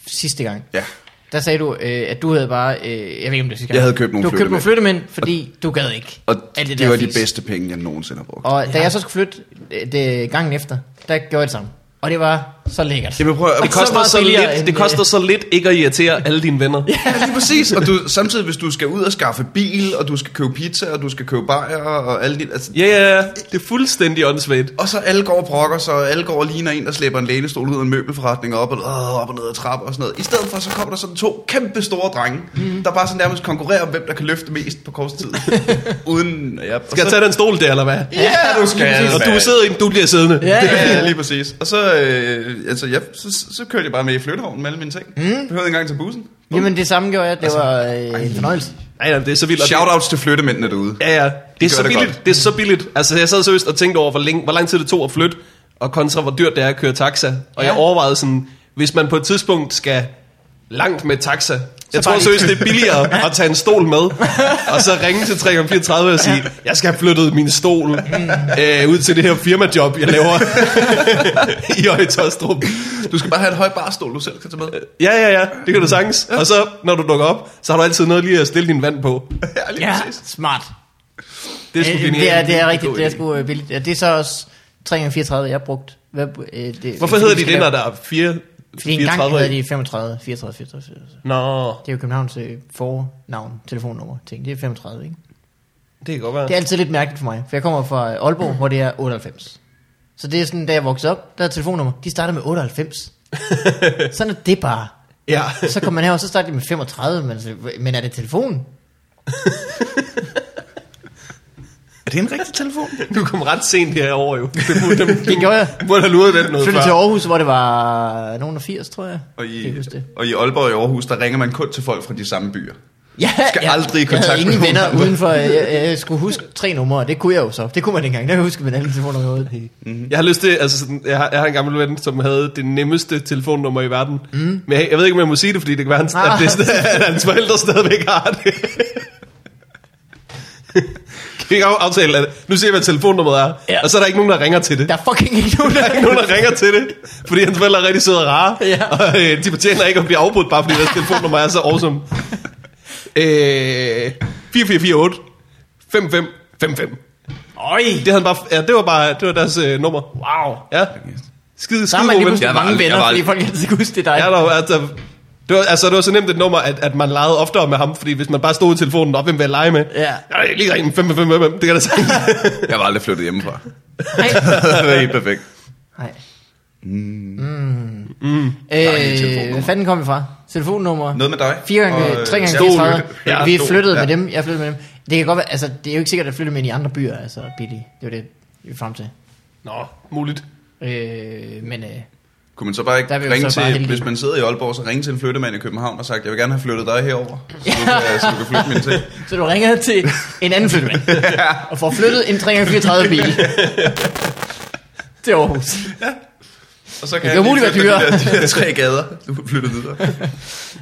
A: sidste gang.
B: Ja.
A: der sagde du, øh, at du havde bare, øh, jeg ved ikke om det er sidste gang.
B: Jeg havde købt nogle
A: Du havde købt nogle flyttemænd, fordi du gad ikke
B: Og
A: alt
B: det,
A: der
B: det var de
A: fis.
B: bedste penge, jeg nogensinde har brugt.
A: Og da jeg så skulle flytte øh, det gangen efter, der gjorde jeg det samme. Og det var så lækkert.
B: Jamen prøv at-
C: Det
A: så
C: koster,
A: meget
C: så,
A: billigere
C: lidt,
A: end,
C: det koster
A: øh,
C: så lidt ikke at irritere alle dine venner.
B: Ja, lige præcis. Og du, samtidig, hvis du skal ud og skaffe bil, og du skal købe pizza, og du skal købe bajer, og alle de, altså,
C: Ja, ja, ja. Det er fuldstændig åndssvagt.
B: Og så alle går og brokker sig, og alle går og ligner en, der slæber en lænestol ud af en møbelforretning, og op og, øh, op og ned ad trapper og sådan noget. I stedet for, så kommer der sådan to kæmpe store drenge, mm. der bare sådan nærmest konkurrerer om, hvem der kan løfte mest på kort tid. Uden, ja, og
C: Skal jeg
B: så,
C: tage den stol der, eller hvad?
B: Ja, du skal.
C: Og du sidder i den, du bliver siddende.
A: Ja, ja,
B: Ja, lige præcis. Og så, øh, altså, ja, så, så kørte jeg bare med i flyttevognen med alle mine ting. Mm. Behøvede ikke engang til bussen.
A: Jamen det samme gjorde jeg, det var øh, en fornøjelse.
C: Nej, nej, det er så vildt. og det-
B: Shoutouts til flyttemændene derude.
C: Ja, ja. Det er
B: gør
C: så
B: det
C: billigt.
B: godt.
C: Det, er så billigt. Altså, jeg sad seriøst og tænkte over, hvor, længe, hvor lang tid det tog at flytte, og kontra hvor dyrt det er at køre taxa. Og
A: Ja.
C: ja. jeg overvejede sådan, hvis man på et tidspunkt skal langt med taxa, jeg
A: bare
C: tror
A: lige-
C: seriøst, det er billigere at tage en stol med, og så ringe til 334 og sige, jeg skal have flyttet min stol øh, ud til det her firmajob, jeg laver i Øjtostrup.
B: Du skal bare have et høj barstol, du selv kan tage med.
C: Ja, ja, ja, det kan du sagtens. Og så, når du dukker op, så har du altid noget lige at stille din vand på.
B: Ja, lige
A: Ja,
B: præcis.
A: smart.
C: Det er sgu
A: Øh,
C: genialt.
A: det er, det er rigtigt,
C: God
A: det er
C: idé.
A: sgu øh, billigt. Ja, det er så også 334, jeg har brugt. Hvad, øh, det,
C: Hvorfor hedder
A: vi
C: de
A: skal
C: det, når
A: lave-
C: der er 4,
A: Fordi engang
C: 34
A: hedder
C: i?
A: de 35, 34, 34, 34.
C: Nå,
A: Det er jo Københavns øh, fornavn, telefonnummer, ting. Det er 35, ikke?
C: det kan godt være.
A: Det er altid lidt mærkeligt for mig, for jeg kommer fra øh, Aalborg, hvor det er 98. Så det er sådan, da jeg voksede op, der er telefonnummer, de starter med 98. sådan er det bare.
C: Ja.
A: Så kommer man her, og så starter de med 35, men, så- men er det telefon?
B: Er det en rigtig telefon?
C: Du kom ret sent herover jo. Det burde, dem,
A: Det gjorde jeg.
C: burde have luret den noget
A: Flyttede til
C: før.
A: Aarhus, hvor det var nogen af 80, tror jeg.
B: Og i,
A: Kan I huske det.
B: og i Aalborg og i Aarhus, der ringer man kun til folk fra de samme byer.
A: Ja,
B: Skal aldrig i
A: jeg
B: kontakt
A: havde
B: med
A: ingen
B: nogen
A: venner
B: andre.
A: udenfor. Jeg, jeg, jeg, skulle huske tre numre, og det kunne jeg jo så. Det kunne man ikke engang. Der husker man alle telefoner overhovedet.
C: Jeg har lyst til, altså sådan, jeg har, jeg har en gammel ven, som havde det nemmeste telefonnummer i verden. Mm. Men jeg, jeg, ved ikke, om jeg må sige det, fordi det kan være, hans,
A: Ah.
C: at, det, er- at hans forældre stadigvæk har det. kan vi ikke af- aftale, at nu ser vi, hvad telefonnummeret er,
A: Ja.
C: ja. og så er der ikke nogen, der ringer til det.
A: Der er fucking ikke nogen,
C: Der er ikke nogen, der ringer til det, fordi hans forældre er rigtig søde og rare,
A: Ja.
C: ja. og øh, de fortjener ikke at blive afbrudt, bare fordi deres telefonnummer er så awesome. Øh, 4448 5555.
A: Øj,
C: Det, havde han bare, ja, det var bare det var deres øh, nummer.
A: wow.
C: Ja. Skide,
A: Så
C: skide
A: har man
C: gode
A: lige
C: ven.
A: pludselig
B: Jeg var
A: mange
B: aldrig- jeg
A: venner,
B: var
A: fordi
B: aldrig-
A: folk altid kunne huske det er dig.
C: Ja, der, var- altså, det var, altså, det var så nemt et nummer, at, at man legede oftere med ham, fordi hvis man bare stod i telefonen, op, hvem vil jeg lege med?
A: Ja.
C: Jeg lige ringe 5555, det kan da sige.
B: Jeg var aldrig flyttet hjemmefra.
A: Nej.
B: det er helt perfekt.
A: Nej. Mm.
B: ikke et
A: Øh,
B: telefonnummer.
A: hvad fanden kom vi fra? Telefonnummer?
B: Noget med dig.
A: 4 gange,
B: Og, øh,
A: 3 gange
B: stol.
A: 34.
B: Ja,
A: Ja, vi
B: stol.
A: flyttede med
B: Ja.
A: dem. Jeg flyttede med dem. Det kan godt være, altså det er jo ikke sikkert at flytte med ind i andre byer, altså billige. Det er jo det, vi er frem til.
C: Nå, muligt.
A: Øh, men øh,
B: Kunne man så bare ikke
A: Der er vi jo
B: ringe
A: så bare
B: til,
A: heldige.
B: hvis man sidder i Aalborg, så ringe til en flyttemand i København og sagt, jeg vil gerne have flyttet dig herover, så, du kan, så du kan flytte mine ting.
A: så du ringer til en anden flyttemand og får flyttet en 334 bil. Det er Aarhus.
B: Og så kan
A: kan
B: jeg lige
A: umuligt
B: flytte
A: være
B: de der, de der tre gader, du kan flytte videre.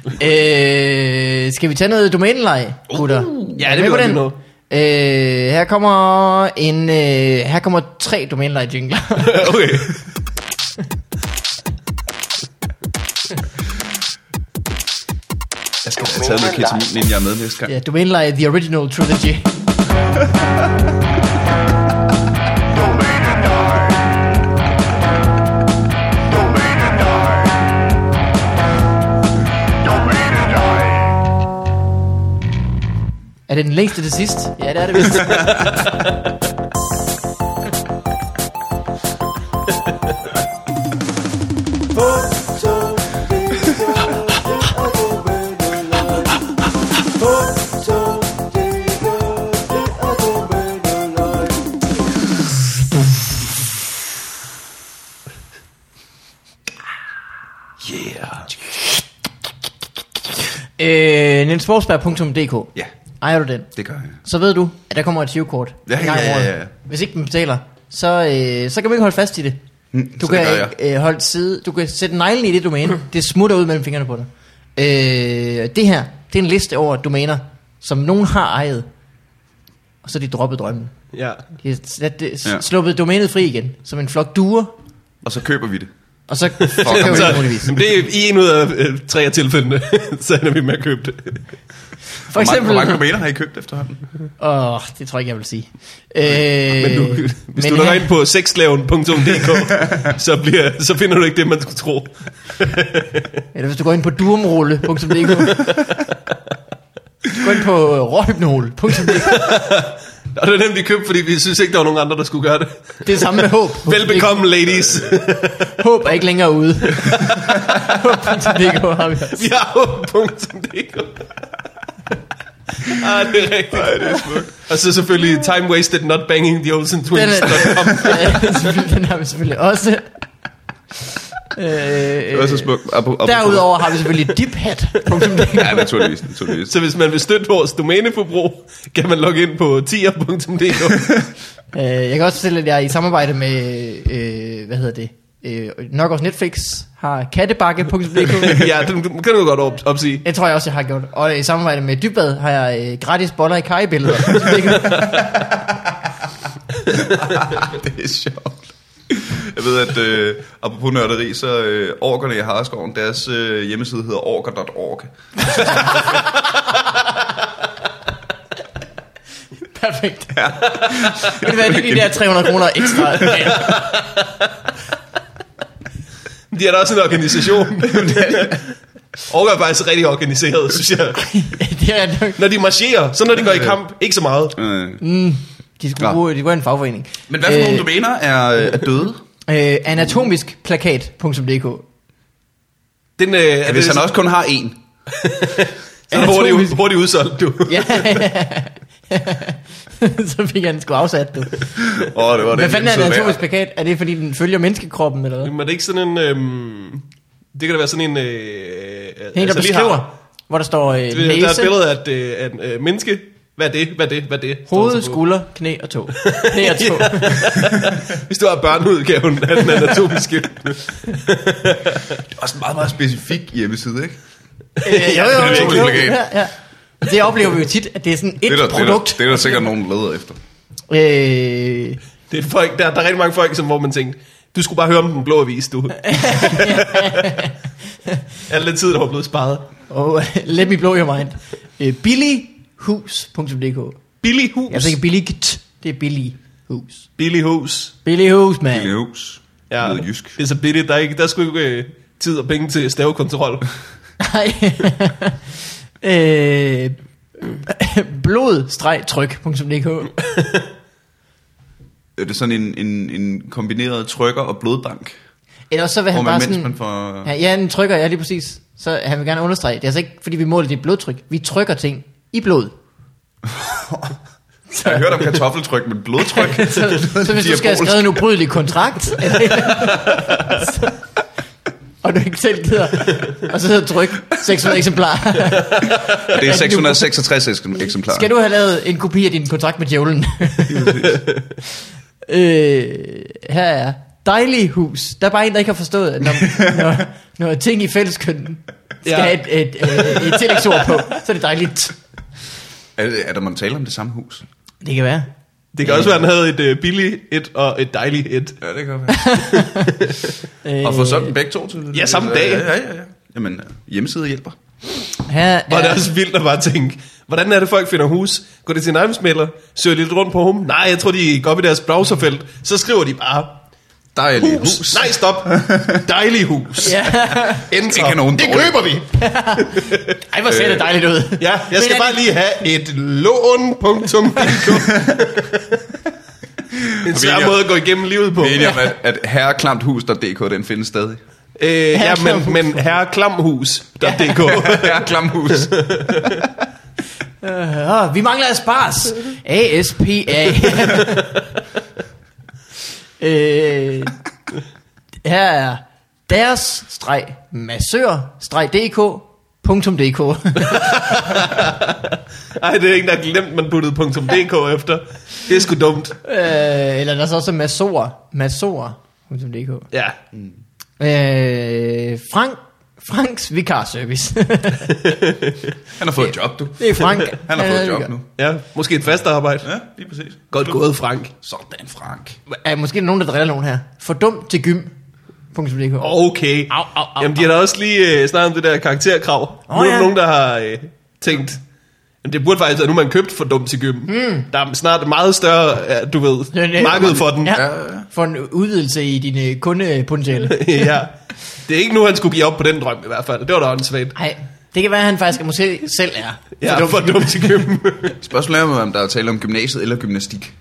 A: Øh, skal vi tage noget domænelej, gutter? Uh,
C: ja, det vil jeg godt
A: Øh, her kommer en, øh, her kommer tre domænelej jingler.
C: okay.
B: Jeg skal have taget noget ketamin, inden jeg er med næste gang.
A: ja, domænelej The Original Trilogy. Er det den længste til sidst? Ja, det er det vist. øh, nielsforsberg.dk
B: Ja,
A: Ejer du den?
B: det gør jeg.
A: Så ved du, at der kommer et 20-kort
B: Ja,
A: en gang om
B: ja,
A: året.
B: ja, ja.
A: Hvis ikke man betaler, så, øh, så kan man ikke holde fast i det.
B: Mm,
A: Du
B: så det
A: kan
B: gør jeg.
A: ikke øh, holde side, du kan sætte neglen i det domæne. Det smutter ud mellem fingrene på dig. Øh, det her, det er en liste over domæner, som nogen har ejet. Og så er de droppet drømmen.
C: Ja.
A: De har slet,
B: Ja.
A: ja. sluppet domænet fri igen, som en flok duer.
B: Og så køber vi det.
A: Og så, så køber
B: man.
A: vi det
C: Så,
A: muligvis.
C: men det er i en ud af øh, tre af tilfældene, så ender vi med at købe det.
A: For eksempel...
B: Hvor mange, hvor mange domæner har I købt efterhånden?
A: Åh, oh, det tror jeg ikke, jeg vil sige. Øh,
C: Men du, hvis men du logger ind på sexslaven.dk, så, bliver, så finder du ikke det, man skulle tro.
A: Eller hvis du går ind på durumrulle.dk Gå ind på øh, råhypnol.dk
C: Og det er den, vi købte, fordi vi synes ikke, der var nogen andre, der skulle gøre det.
A: Det er samme med håb.
C: Velbekomme, ladies.
A: Håb er ikke længere ude. Håb.dk har vi også.
C: Vi har håb.dk. Ah, det er rigtigt. Ej, det er smukt. Og så selvfølgelig time wasted not banging the Olsen
A: Den,
C: twins.
A: er, den har vi selvfølgelig også. Øh,
B: Det var så smukt. Op, op,
A: Derudover har vi selvfølgelig diphat.dk
B: Ja, naturligvis. naturligvis.
C: Så hvis man vil støtte vores domæneforbrug, kan man logge ind på tier.dk.
A: Øh, jeg kan også fortælle, at jeg er i samarbejde med, øh, hvad hedder det, øh, nok også Netflix har kattebakke.dk.
C: ja, den, den kan du godt op, opsige.
A: Det tror jeg også, jeg har gjort. Og i samarbejde med Dybbad har jeg øh, gratis boller i kajebilleder.
B: Det er sjovt. Jeg ved, at øh, apropos nørderi, så øh, orkerne i Harskoven, deres øh, hjemmeside hedder orker.org.
A: Perfekt. Ja. Vil det være lige de der 300 kroner ekstra? Ja.
C: De er da også en organisation. Orker er faktisk rigtig organiseret, synes jeg.
A: det er nok.
C: Når de marcherer, så når de går i kamp, ikke så meget.
B: Øh.
A: Mm. De skulle
B: Nå.
A: bruge, de skulle have en fagforening.
B: Men hvad for nogle domæner er, øh, er døde?
A: Øh, anatomiskplakat.dk
C: Den, øh,
B: Ja,
C: er
B: hvis han
C: så,
B: også kun har én.
C: så er det hurtigt,
A: anatomisk-
C: ud- hurtigt udsolgt, du.
A: Ja. så fik han sgu afsat, du.
B: Åh, oh, det var det.
A: Hvad fanden er en
B: hjemmeside værd.
A: anatomisk plakat? Er det, fordi den følger menneskekroppen, eller hvad?
C: Men er det ikke sådan en... Øhm, det kan da være sådan en... Øh,
A: Det er en, der
C: lige har-
A: beskriver, hvor der står øh,
C: det- Der er et
A: næse,
C: billede af et, øh, af et øh, menneske. Hvad er det? Hvad er det? Hvad er det? Står der
A: hoved,
C: så på.
A: skulder, knæ og tå. Knæ og tå.
C: Hvis du har børneudgaven af den anatomiske.
B: Det er også en meget, meget specifik hjemmeside, ikke?
A: Øh, jo, jo,
B: Det er
A: jo,
B: virkelig
A: jo,
B: legalt.
A: ja, ja. Det oplever vi jo tit, at det er sådan et
B: Det er der, det er der,
A: produkt.
B: det er der sikkert nogen, der leder efter.
A: Øh,
C: Det er folk, der, der er rigtig mange folk, som, hvor man tænkte, du skulle bare høre om den blå avis, du. Alt den tid, der var blevet sparet.
A: og let me blow your mind. Øh, billighus.dk
C: Billig hus.
A: Jeg tænker billigt, det er billighus.
C: Billig hus.
A: Billighus, mand.
B: Lille hus. Ja. Noget jysk.
C: Det er så billigt. Der er, ikke, der er sgu ikke øh, tid og penge til stavekontrol.
A: Nej. øh, blod-tryk.dk
B: Er det sådan en, en, en kombineret trykker og blodbank?
A: Eller så vil
B: Hvor
A: han
B: man,
A: bare
B: mens
A: sådan...
B: man får...
A: Ja, ja, den trykker, ja lige præcis. Så han vil gerne understrege, det er altså ikke, fordi vi måler dit blodtryk. Vi trykker ting i blod.
B: Jeg har hørt om kartoffeltryk, men blodtryk?
A: så, så hvis du skal have
B: Diabolisk.
A: skrevet en ubrydelig kontrakt, eller- så- og du ikke selv gider, og så hedder tryk 600 eksemplarer.
B: Det er 666 eksem- eksemplarer.
A: Skal du have lavet en kopi af din kontrakt med djævlen? øh, her er dejlig hus. Der er bare en, der ikke har forstået, at når, når, når ting i fælleskønnen skal
C: Ja.
A: ja. have et, et, et, et tillægsord på, så er det dejligt.
B: Er, det- er der, man taler om det samme hus?
A: Det kan være.
C: Det kan også være, at han havde et øh, billigt et og et dejligt et.
B: Ja, det kan være.
A: Øh,
B: Og få sådan begge to til.
C: Ja, samme dag.
B: Ja, ja, ja. ja. Jamen, hjemmeside hjælper.
A: her
C: Og det er
A: er,
C: også vildt at bare tænke, hvordan er det, folk finder hus? Går de til en ejendomsmælder? Søger de lidt rundt på ham? Nej, jeg tror, de går op i deres browserfelt. Så skriver de bare,
B: Dejligt
C: hus.
B: hus.
C: hus. Nej, stop. Dejlig hus.
A: ja.
C: Enter.
B: Ikke nogen
C: det
B: dårlig.
C: køber vi.
A: Ej, hvor ser det dejligt ud.
C: Øh, Ja, jeg skal
A: er
C: bare
A: det-
C: lige have et lån. Punktum. en svær måde at gå igennem livet på.
B: Vi er enige om, at, at herreklamthus.dk, den findes stadig.
C: Øh, ja, men, men herreklamhus.dk.
B: Herreklamthus.
A: Uh, vi mangler aspars. ASPA. øh, her er deres streg massør streg dk punktum Øh, dk.
C: Ej, det er en, der har glemt, man puttede .dk efter. Det er sgu dumt.
A: øh, eller der er så også massorer. Massorer. punktum .dk.
C: Ja.
A: Øh, Frank, Franks vikarservice.
B: Han har fået et job, du.
A: det er Frank. Øh,
B: Han har fået et
A: er
B: job
A: vikar.
B: nu.
C: ja, måske et fast arbejde.
B: Ja, lige præcis.
C: Godt gået, Frank.
B: Sådan, Frank.
A: Er måske nogen, der driller nogen her. For dum til gym. .dk.
C: Okay.
A: Au, au, au,
C: Jamen, de har da også lige øh, snakket om det der karakterkrav. Oh,
A: Åh,
C: nu er der
A: ja.
C: nogen, der har øh, tænkt, jamen, det burde faktisk være nu, man købte for dumt til gym. Mm. Der er snart meget større, ja, du
A: Hmm. Det er
C: ved,
A: det.
C: marked for den.
A: Ja.
B: Ja.
A: For en udvidelse i din øh, kundepotentiale.
C: ja. Det er ikke nu, han skulle give op på den drøm i hvert fald. Det var da åndssvagt.
A: Nej, det kan være, at han faktisk måske selv Ah. er.
C: Ja, for dumt til gym.
B: Spørgsmålet er, om der er tale om gymnasiet eller gymnastik.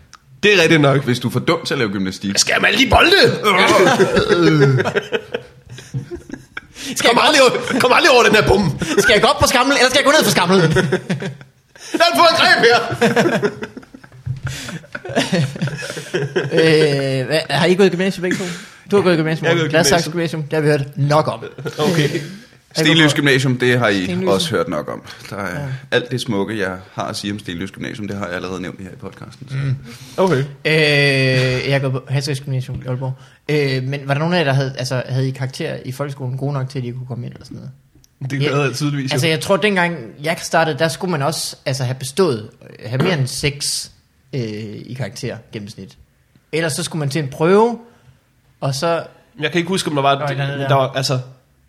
C: det er rigtigt nok.
B: Hvis du er for dum til at lave gymnastik.
C: Skal man lige bolde?
A: Skal jeg,
C: Kom aldrig, over- kom aldrig over den her bum.
A: gå, skal jeg gå op på skammel, eller skal jeg gå ned på skammel?
C: Der er fået en greb her.
A: øh, hvad, har I gået i gymnasiet begge to? Du har gået i gymnasium.
C: Jeg har gået i
A: Gladsaxe
C: gymnasiet.
A: gymnasium, det har vi hørt nok om.
C: Okay.
B: Stenløs Gymnasium, det har I
A: Stenløse.
B: også hørt nok om. Der er alt det smukke, jeg har at sige om Stenløs Gymnasium, det har jeg allerede nævnt her i podcasten. Så.
C: Okay.
A: Øh, jeg har gået på Hatsriks Gymnasium i Aalborg. Øh, men var der nogen af jer, der havde, altså, havde I karakterer i folkeskolen gode nok til, at I kunne komme ind eller sådan noget?
C: Det
A: Ja.
C: gør jeg tydeligvis.
A: Altså
C: Altså,
A: jeg tror, dengang jeg startede, der skulle man også altså, have bestået, øh, have mere end 6 øh, i karakter gennemsnit. Ellers så skulle man til en prøve, og så...
C: jeg kan ikke huske, om der var...
A: Der var et eller andet der.
C: Der var altså,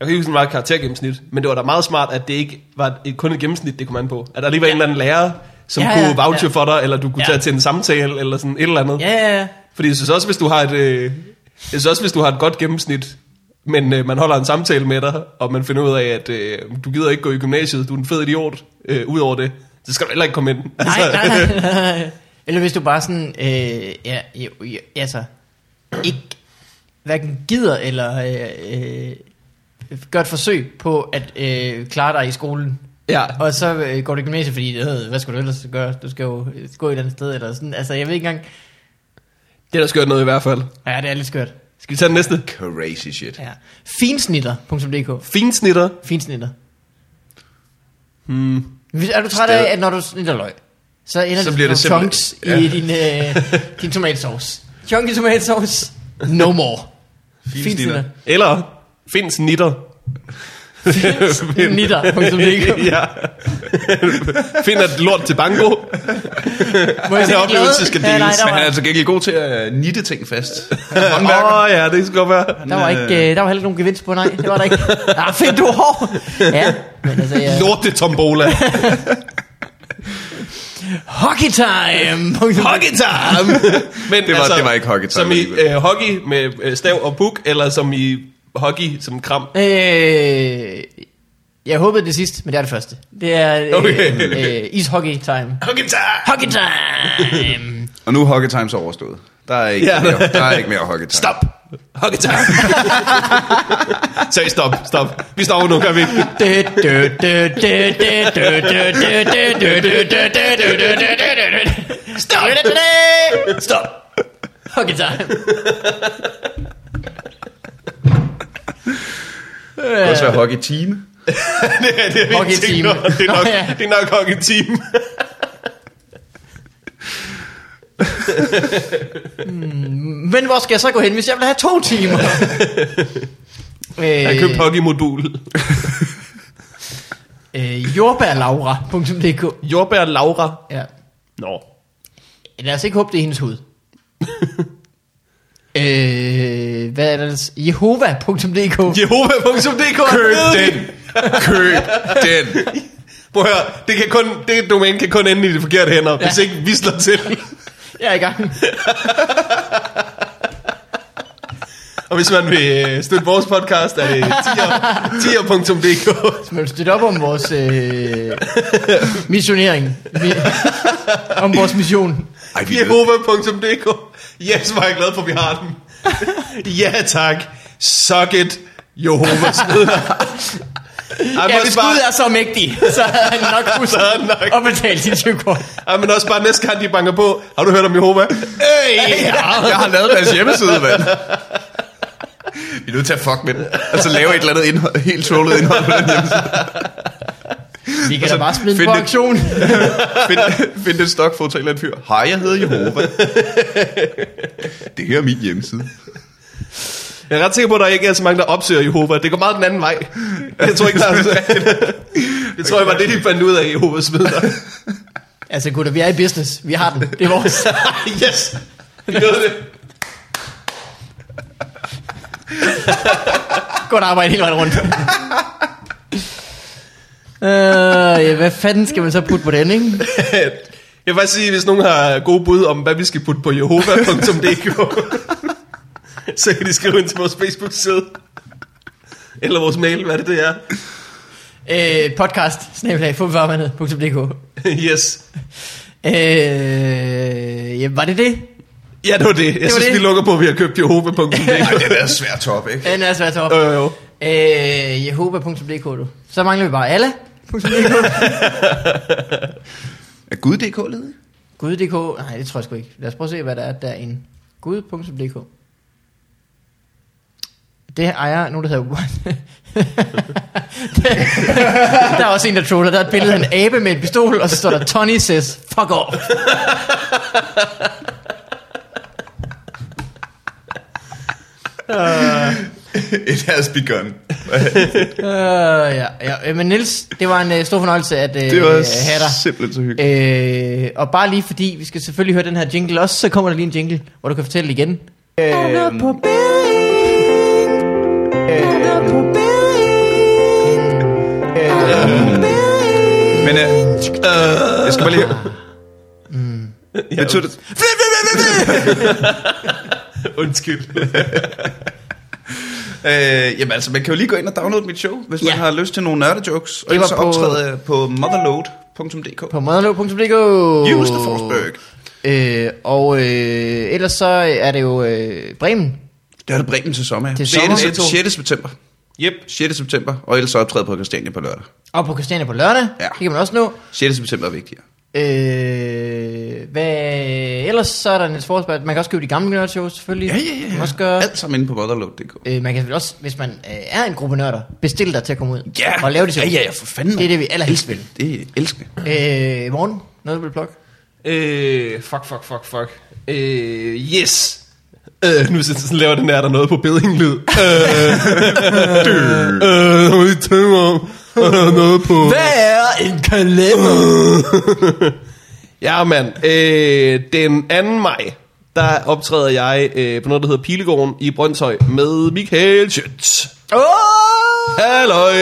C: jeg kan ikke huske, om der var et karaktergennemsnit, men det var da meget smart, at det ikke var et, kun et gennemsnit, det kom an på. At der lige var en eller anden lærer, som
A: Ja,
C: ja,
A: ja,
C: kunne vouche
A: ja.
C: ja. for dig, eller du kunne
A: Ja.
C: ja. tage til en samtale, eller sådan et eller andet.
A: Ja, ja, ja.
C: Fordi jeg synes også, hvis du har et, øh, jeg synes også, hvis du har et godt gennemsnit, men øh, man holder en samtale med dig, og man finder ud af, at øh, du gider ikke gå i gymnasiet, du er en fed idiot, øh, ud over det, så skal du heller ikke komme ind. Altså,
A: Nej, nej, nej, nej, nej. Eller hvis du bare sådan... Øh, ja, jo, jo, altså... Ikke hverken gider eller øh, øh, gør et forsøg på at øh, klare dig i skolen.
C: Ja,
A: Og så øh, går du i gymnasiet, fordi øh, hvad skal du ellers gøre? Du skal jo øh, gå et eller andet sted, eller sådan. Altså, jeg ved ikke engang...
C: det er da skørt noget i hvert fald.
A: Ja, det er lidt skørt.
C: Skal vi tage den næste?
B: Crazy shit.
A: Ja. Finsnitter.dk
C: Finsnitter.
A: Finsnitter.
C: Hmm.
A: Hvis- Er du træt af, at når du snitter løg, så ender
B: Så
A: så
B: bliver
A: det
B: det
A: som chunks
B: simpelthen-
A: i din, øh, din tomatsauce. Chunk i tomatsauce. No more. Finsnitter.
C: Eller finsnitter.
A: Nitter.dk
C: ja. Find et lort til banko.
A: Må jeg
B: Den
A: sige
B: oplevelse skal
A: glad? Ja,
B: deles.
A: nej, der
B: Han er
A: var,
B: altså gengæld god til at nitte ting fast. Han er håndværker.
C: Åh oh, ja, det skal godt være.
A: der var, ikke, øh, der var heller ikke nogen gevinst på, nej. Det var der ikke. Ah, fedt, du er hård. Ja, men altså, ja.
C: Lorte tombola.
A: Hockey time.
C: hockey time! Men altså,
B: Det var- det var ikke hockey time
C: Som i
B: alligevel.
C: øh, hockey med øh, stav og puk, eller som i hockey som kram.
A: Øh, jeg håbede det sidste, men det er det første. Det er øh,
C: Okay.
A: øh, ishockey time.
C: Hockey time!
A: Hockey time!
B: Og nu er Hockey Times overstået. Der er ikke,
C: Ja.
B: mere, der er ikke mere Hockey Time.
C: Stop! Hockey time! Seriøst, stop, stop. Vi stopper nu, gør vi ikke?
A: Stop! Stop! Hockey time!
B: Det kan også være Hockey Team.
C: Ja, det
A: Hockey
C: er hockey team.
A: team.
C: Nok, det, er
A: Nå,
C: nok,
A: ja.
C: det er nok hockey team.
A: Men hvor skal jeg så gå hen, hvis jeg vil have to timer?
C: Jeg købte hockey-modul.
A: øh, jordbærlaura.dk
C: Jordbær Laura.
A: Ja.
C: Nå.
A: Lad os ikke håbe, det er hendes hud. øh, hvad er det ellers? Jehova.dk
C: Jehova.dk
B: Køb den! Køb den!
C: Prøv at høre, det, kan kun, det domæne kan kun ende i de forkerte hænder, ja. hvis ikke vi slår til.
A: Jeg er i gang.
C: Og hvis man vil øh, støtte vores podcast, er det tier- tier.dk.
A: Men vil du støtte op om vores øh, missionering. Vi- om vores mission.
B: Ej, vi ved,
C: Jehova.dk. Yes, var jeg glad for, at vi har den. ja, tak. Suck it, Jehovas vidner. Ej, men
A: Ja,
C: også
A: hvis
C: bare,
A: Gud er så mægtig, så har han nok husket
C: Så er han nok-
A: at betale sin tyvkort.
C: ej, men også bare næste gang, de banker på. Har du hørt om Jehova? Øh,
B: jeg har lavet deres hjemmeside, mand. Vi er nødt til at fuck med den. Og så lave et eller andet indhold, helt trollet indhold på den hjemmeside.
A: Vi kan da bare smide den
B: find
A: på
B: det-
A: auktion.
B: Find, find et stokfoto af en eller anden fyr. Hej, jeg hedder Jehova. Det her er min hjemmeside.
C: Jeg er ret sikker på, at der ikke er så mange, der opsøger Jehova. Det går meget den anden vej. Jeg tror ikke, der er Jeg tror, det var det, de fandt ud af, Jehovas vidner.
A: Altså gutter, vi er i business. Vi har den. Det er vores.
C: yes! Vi nåede det.
A: Godt arbejde hele vejen rundt. øh, ja, hvad fanden skal man så putte på den, ikke?
C: Jeg vil faktisk sige, hvis nogen har gode bud om, hvad vi skal putte på jehova.dk, så kan de skrive ind til vores Facebook-side. Eller vores mail, hvad det, det er.
A: Øh, podcast, snablag, fumfarmandet.dk
C: yes.
A: Øh, ja, var det det?
C: Ja, det var det. Jeg det
A: var
C: synes,
A: det.
C: det. vi lukker på, at vi har købt jehova.dk.
B: Ej, det er da svært top, ikke?
A: Den er altså svært top.
C: Jo, jo, jo.
A: Øh, jehova.dk, du. Så mangler vi bare alle.
B: Er Gud DK ledig?
A: Gud.dk, nej, det tror jeg sgu ikke. Lad os prøve at se, hvad der er derinde. Gud.dk. Det ejer nogen, der hedder One. der er også en, der troller. Der er et billede af en abe med en pistol, og så står der, Tony says, fuck off.
B: It has begun.
A: Øh, ja, ja. Men Nils, det var en øh, stor fornøjelse at øh,
B: Det var
A: have dig.
B: simpelthen så hyggeligt.
A: Øh, og bare lige fordi, vi skal selvfølgelig høre den her jingle også, så kommer der lige en jingle, hvor du kan fortælle det igen.
B: Øhm, Men øh, jeg skal bare lige høre. Mm. Betyder det,
C: Undskyld.
B: øh, jamen altså, man kan jo lige gå ind og downloade mit show, hvis man
A: Ja.
B: har lyst til nogle nørdejokes.
A: Det
B: Og
A: var
B: ellers så
A: på-
B: optræde jeg på motherload.dk.
A: På motherlow.dk
B: Use the Forsberg.
A: Øh, og øh, ellers så er det jo øh, Bremen.
B: Det er det Bremen til sommer.
A: Til
B: 6.
A: sommer?
B: se- 6. september.
C: Yep.
B: 6. september, og ellers så optræde på Christiania på lørdag.
A: Og på Christiania på lørdag.
B: Ja.
A: Det kan man også nå.
B: 6. september er vigtigere.
A: Øh, hvad, ellers så er der Niels Forsberg. Man kan også købe de gamle nørdshows selvfølgelig. Man kan også gøre,
B: Alt sammen inde på motherload.dk.
A: øh, man kan selvfølgelig også, hvis man øh, er en gruppe nørder, bestille dig til at komme ud
B: Ja,
A: og lave det show.
B: ja, ja, ja, for fanden.
A: Det er det, vi allerhelst vil.
B: Det er elskende.
A: Øh, morgen, noget du vil plukke.
C: Øh, fuck, fuck, fuck, fuck. Øh, yes. Øh, nu sidder jeg sådan, laver den her, der noget på bedinglyd. Øh, øh, nu må jeg tænke om, og der er noget på...
A: Hvad er en kalender?
C: Ja, mand. Øh, den 2. maj, der optræder jeg øh, på noget, der hedder Pilegården i Brøndshøj med Michael Schütz.
A: Oh!
C: Halløj!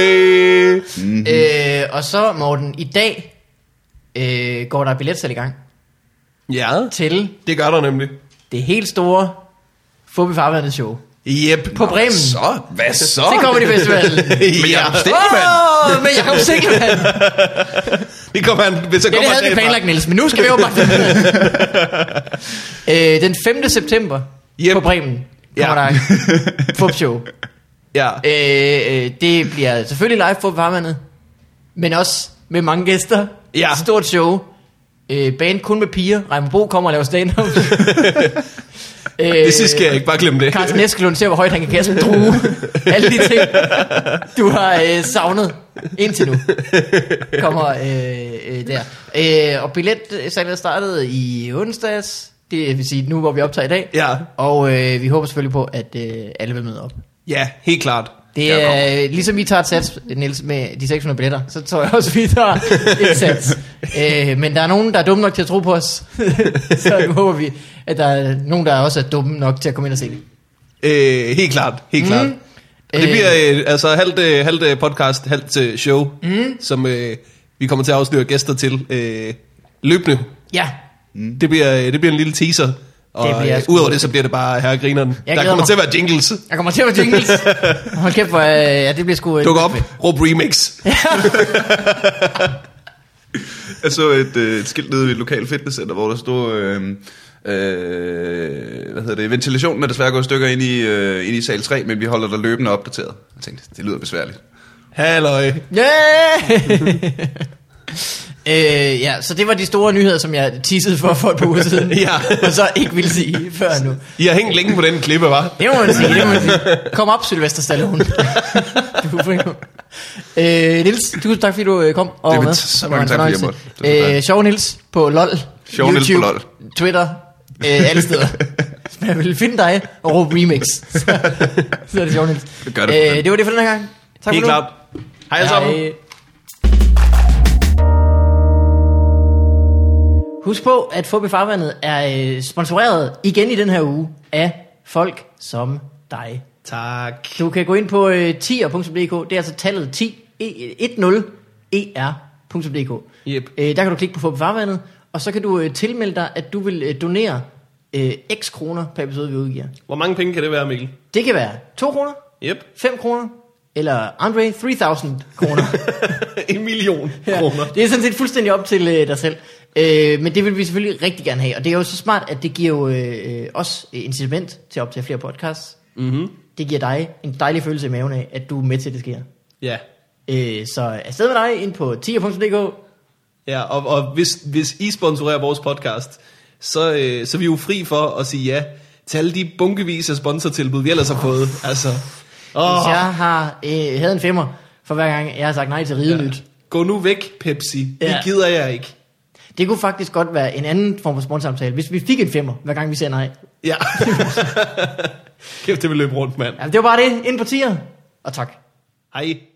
B: Mhm.
A: Øh, og så, Morten, i dag øh, går der billetsalg i gang
C: Ja,
A: til
C: det gør der nemlig.
A: det helt store Fubi Farvandet show.
C: Yep.
A: På Bremen.
B: Så, hvad så?
A: Det kommer de festivalen.
B: Men
C: ja.
B: Jacob Stikkelmann.
A: Åh, med Jacob Stikkelmann.
C: Det kommer han, hvis jeg
A: Ja, det
C: kommer
A: havde vi
C: dagen fra.
A: planlagt, Niels, men nu skal vi åbenbart finde ud af det. øh, Den 5. september
C: Yep.
A: på Bremen kommer
C: Ja.
A: der et Fubi show.
C: Ja.
A: Øh, øh, det bliver selvfølgelig live Fubi Farvandet, men også med mange gæster.
C: Ja.
A: Et Stort show. Øh, band kun med piger. Raimond Bo kommer og laver stand-up. øh,
C: Det sidste skal jeg ikke, bare glemme det.
A: Carsten Eskelund ser, hvor højt han kan kaste en drue. Alle de ting, du har øh, savnet indtil nu, kommer øh, øh, der. Øh, og billetsalget startede i onsdags, det vil sige nu, hvor vi optager i dag.
C: Ja.
A: Og øh, vi håber selvfølgelig på, at øh, alle vil møde op.
C: Ja, helt klart.
A: Det er øh, ligesom I tager et sats, Niels, med de 600 billetter, så tror jeg også, vi tager et sats. øh, men der er nogen, der er dumme nok til at tro på os, så nu håber vi, at der er nogen, der også er dumme nok til at komme ind og se det.
C: Øh, helt klart, helt mm. klart. Og det
A: Øh.
C: bliver øh, altså halvt, øh, halvt øh, podcast, halvt øh, show, mm. som øh, vi kommer til at afsløre gæster til øh, løbende.
A: Ja,
C: Mm. Det, bliver, øh, det bliver en lille teaser. Og
A: Det bliver
C: øh,
A: sgu-
C: udover det, så bliver det bare herre grineren.
A: Jeg
C: Der
A: glæder
C: kommer
A: mig.
C: til at være jingles.
A: Jeg kommer til at være jingles. Hold kæft, hvor, øh, ja, det bliver sgu... øh,
C: Duk op, råb remix.
B: Jeg så et, øh, et skilt nede ved et lokalt fitnesscenter, hvor der stod... Øh, Øh, hvad hedder det? Ventilationen er desværre gået i stykker ind i, øh, ind i sal 3, men vi holder dig løbende opdateret. Jeg tænkte, det lyder besværligt.
C: Halløj.
A: Yeah! øh, ja, så det var de store nyheder, som jeg tissede for for et par uger siden.
C: Ja.
A: Og så ikke ville sige før nu.
C: I har hængt længe på den klippe, var.
A: Det må man sige, det må man sige. Kom op, Sylvester Stallone. du er fri nu. øh, Niels, tusind tak, fordi du øh, kom og
B: Det var
A: med.
B: så
A: Det var
B: mange
A: en
B: tak, fordi jeg
A: fornøjelse.
B: måtte. Tusind tak.
A: Øh, Sjov Niels på LOL.
B: Sjov Niels på
A: YouTube,
B: LOL.
A: Twitter. Øh, alle steder. Hvis Man vil finde dig og råbe remix. Så, så er det Sjov Niels. Øh,
B: Det gør det.
A: det var det for den her gang. Tak
C: Helt
A: for nu.
C: klart. Hej alle sammen.
A: Hej. Husk på, at Fubi Farvandet er øh, sponsoreret igen i den her uge af folk som dig.
C: Tak.
A: Du kan gå ind på øh, 10er.dk, det er altså tallet 10, e, 10er.dk.
C: Yep.
A: Øh, der kan du klikke på få på farvandet, og så kan du øh, tilmelde dig, at du vil øh, donere øh, x kroner per episode, vi udgiver.
C: Hvor mange penge kan det være, Mikkel?
A: Det kan være 2 kroner,
C: Yep.
A: 5 kroner, eller Andre 3000 kroner.
C: en million
A: Ja,
C: kroner.
A: Det er sådan set fuldstændig op til øh, dig selv. Øh, men det vil vi selvfølgelig rigtig gerne have. Og det er jo så smart, at det giver jo øh, øh, os øh, incitament til at optage flere podcasts.
C: Mm-hmm.
A: Det giver dig en dejlig følelse i maven af, at du er med til, at det sker.
C: Ja.
A: Øh, så afsted med dig ind på 10.dk.
C: ja og, og hvis, hvis I sponsorerer vores podcast, så, øh, så er vi jo fri for at sige ja til alle de bunkevis af sponsortilbud, vi ellers har fået. Altså,
A: Hvis
C: åh,
A: jeg har øh, havde en femmer for hver gang, jeg har sagt nej til ridenyt. Ja.
C: gå nu væk, Pepsi.
A: Ja.
C: Det gider jeg ikke.
A: Det kunne faktisk godt være en anden form for sponsorsamtale, hvis vi fik en femmer, hver gang vi sagde nej.
C: Ja. Kæft, det vil løbe rundt, mand.
A: Jamen, det var bare det. Ind på 10'er. Og tak.
C: Hej.